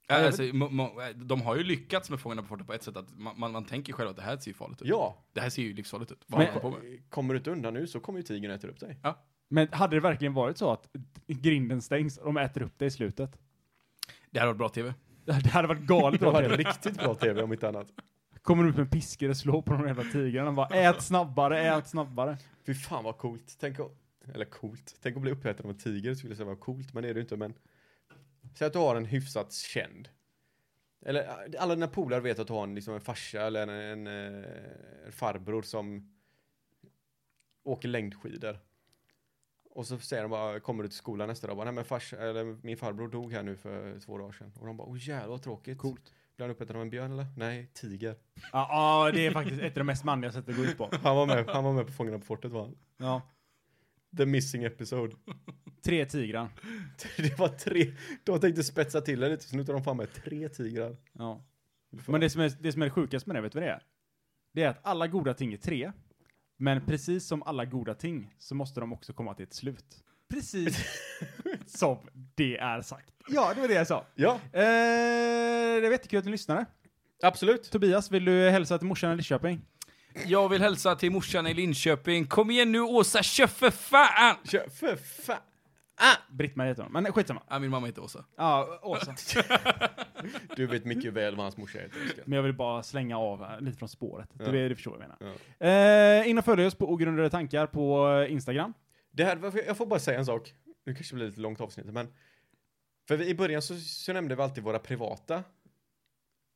[SPEAKER 5] Ja,
[SPEAKER 3] jag
[SPEAKER 5] alltså, må- må- de har ju lyckats med Fångarna på fortet på ett sätt att man, man, man tänker själv att det här ser ju farligt ut.
[SPEAKER 3] Ja. Eh,
[SPEAKER 5] Det här ser ju livsfarligt ut. Vad har
[SPEAKER 4] Men-
[SPEAKER 5] de på med?
[SPEAKER 3] Kommer du inte undan nu så kommer ju tigern äta upp dig.
[SPEAKER 4] Men hade det verkligen varit så att grinden stängs och de äter upp det i slutet?
[SPEAKER 5] Det här var bra tv.
[SPEAKER 4] Det hade- det hade varit galet
[SPEAKER 3] Det
[SPEAKER 4] bra
[SPEAKER 3] var
[SPEAKER 4] TV.
[SPEAKER 3] riktigt bra tv om inte annat.
[SPEAKER 4] Kommer ut med piskor och slår på de jävla tigrarna och bara ät snabbare, ät snabbare.
[SPEAKER 3] Fy fan vad coolt. Tänk om, eller coolt. Tänk att bli uppäten av en tiger skulle jag säga var coolt, men det är det ju inte. Men säg att du har en hyfsat känd. Eller äh, alla dina polare vet att du har en, liksom en farsa eller en, en, eh, en farbror som åker längdskidor. Och så säger de bara, kommer du till skolan nästa dag? och Bara, Nej, men fars, eller, min farbror dog här nu för två dagar sedan. Och de bara, åh jävlar vad tråkigt. Coolt. Blev han uppäten av en björn eller? Nej, tiger.
[SPEAKER 4] Ja, ja, det är faktiskt ett av de mest manliga sätten att gå ut på.
[SPEAKER 3] Han var med, han var med på Fångarna på fortet var han.
[SPEAKER 4] Ja.
[SPEAKER 3] The missing episode.
[SPEAKER 4] Tre tigrar.
[SPEAKER 3] (laughs) Det var tre, de tänkte spetsa till det lite, så nu tar de fan med tre tigrar.
[SPEAKER 4] Ja. Men det som, är, det som är det sjukaste med det, vet du vad det är? Det är att alla goda ting är tre. Men precis som alla goda ting så måste de också komma till ett slut. (laughs) Precis som det är sagt. Ja, det var det jag sa.
[SPEAKER 3] Ja,
[SPEAKER 4] Eh, det var jättekul att ni lyssnade.
[SPEAKER 3] absolut.
[SPEAKER 4] Tobias, vill du hälsa till morsan i Lidköping?
[SPEAKER 5] Jag vill hälsa till morsan i Linköping. Kom igen nu Åsa, kör för fan!
[SPEAKER 3] Kör, för fan.
[SPEAKER 4] Britt-Marie heter hon, men skitsamma.
[SPEAKER 5] Nej, min mamma heter Åsa.
[SPEAKER 4] Ja, Åsa.
[SPEAKER 3] Du vet mycket väl vad hans morsa heter. Oskar.
[SPEAKER 4] Men jag vill bara slänga av eh, lite från spåret. Du, du förstår vad jag menar. Eh, in och följ oss på ogrundade tankar på eh, Instagram. (laughs)
[SPEAKER 3] Det här, varför- jag får bara säga en sak. Nu kanske det blir lite långt avsnitt, men. För vi, i början så, så nämnde vi alltid våra privata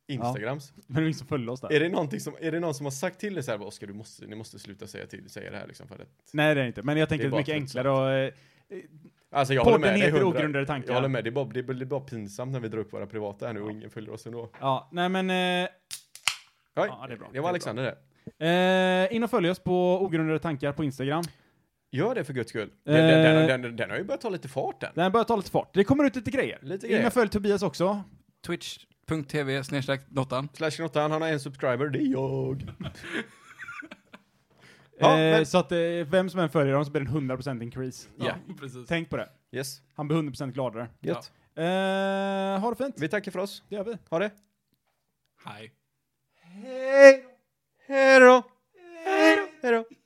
[SPEAKER 3] Instagrams.
[SPEAKER 4] Men det är ingen som följer oss där.
[SPEAKER 3] Är, det någonting som, är det någon som har sagt till dig så här, Oskar, du måste, ni måste sluta säga till, säga det här liksom för att.
[SPEAKER 4] Nej, det är det inte. Men jag tänker
[SPEAKER 3] Det
[SPEAKER 4] att
[SPEAKER 3] är
[SPEAKER 4] det är mycket
[SPEAKER 3] bara
[SPEAKER 4] enklare och... eh,
[SPEAKER 3] Alltså jag
[SPEAKER 4] Podden
[SPEAKER 3] håller med dig
[SPEAKER 4] heter
[SPEAKER 3] hundra-
[SPEAKER 4] Ogrundade tankar.
[SPEAKER 3] Jag håller med, det är, bara, det blir bara pinsamt när vi drar upp våra privata här nu och ingen följer oss ändå. Oj,
[SPEAKER 4] Ja, nej men... Eh,
[SPEAKER 3] ja,
[SPEAKER 4] det är bra.
[SPEAKER 3] det var Alexander det.
[SPEAKER 4] eh, in och följ oss på ogrundade tankar på Instagram.
[SPEAKER 3] Gör det för guds skull. Den, den,
[SPEAKER 4] Eh.
[SPEAKER 3] den, den, den har ju börjat ta lite fart den.
[SPEAKER 4] Den börjar ta lite fart. Det kommer ut lite grejer.
[SPEAKER 3] Lite
[SPEAKER 4] In
[SPEAKER 3] grejer.
[SPEAKER 4] och följ Tobias också.
[SPEAKER 5] Twitch.tv snedstreck Dottan.
[SPEAKER 3] Slash Grottan, han har en subscriber, det är jag. Ja,
[SPEAKER 4] eh,
[SPEAKER 3] men-
[SPEAKER 4] Så att eh, vem som än följer honom så blir det en 100% increase.
[SPEAKER 3] Ja.
[SPEAKER 5] precis.
[SPEAKER 4] Tänk på det.
[SPEAKER 3] Yes,
[SPEAKER 4] Han blir 100% gladare.
[SPEAKER 3] gött.
[SPEAKER 4] Eh, ha det fint.
[SPEAKER 3] Vi tackar för oss.
[SPEAKER 4] Det gör vi.
[SPEAKER 3] Ha det.
[SPEAKER 5] Hej.
[SPEAKER 3] Hej Hej då! Hej då! Hej då!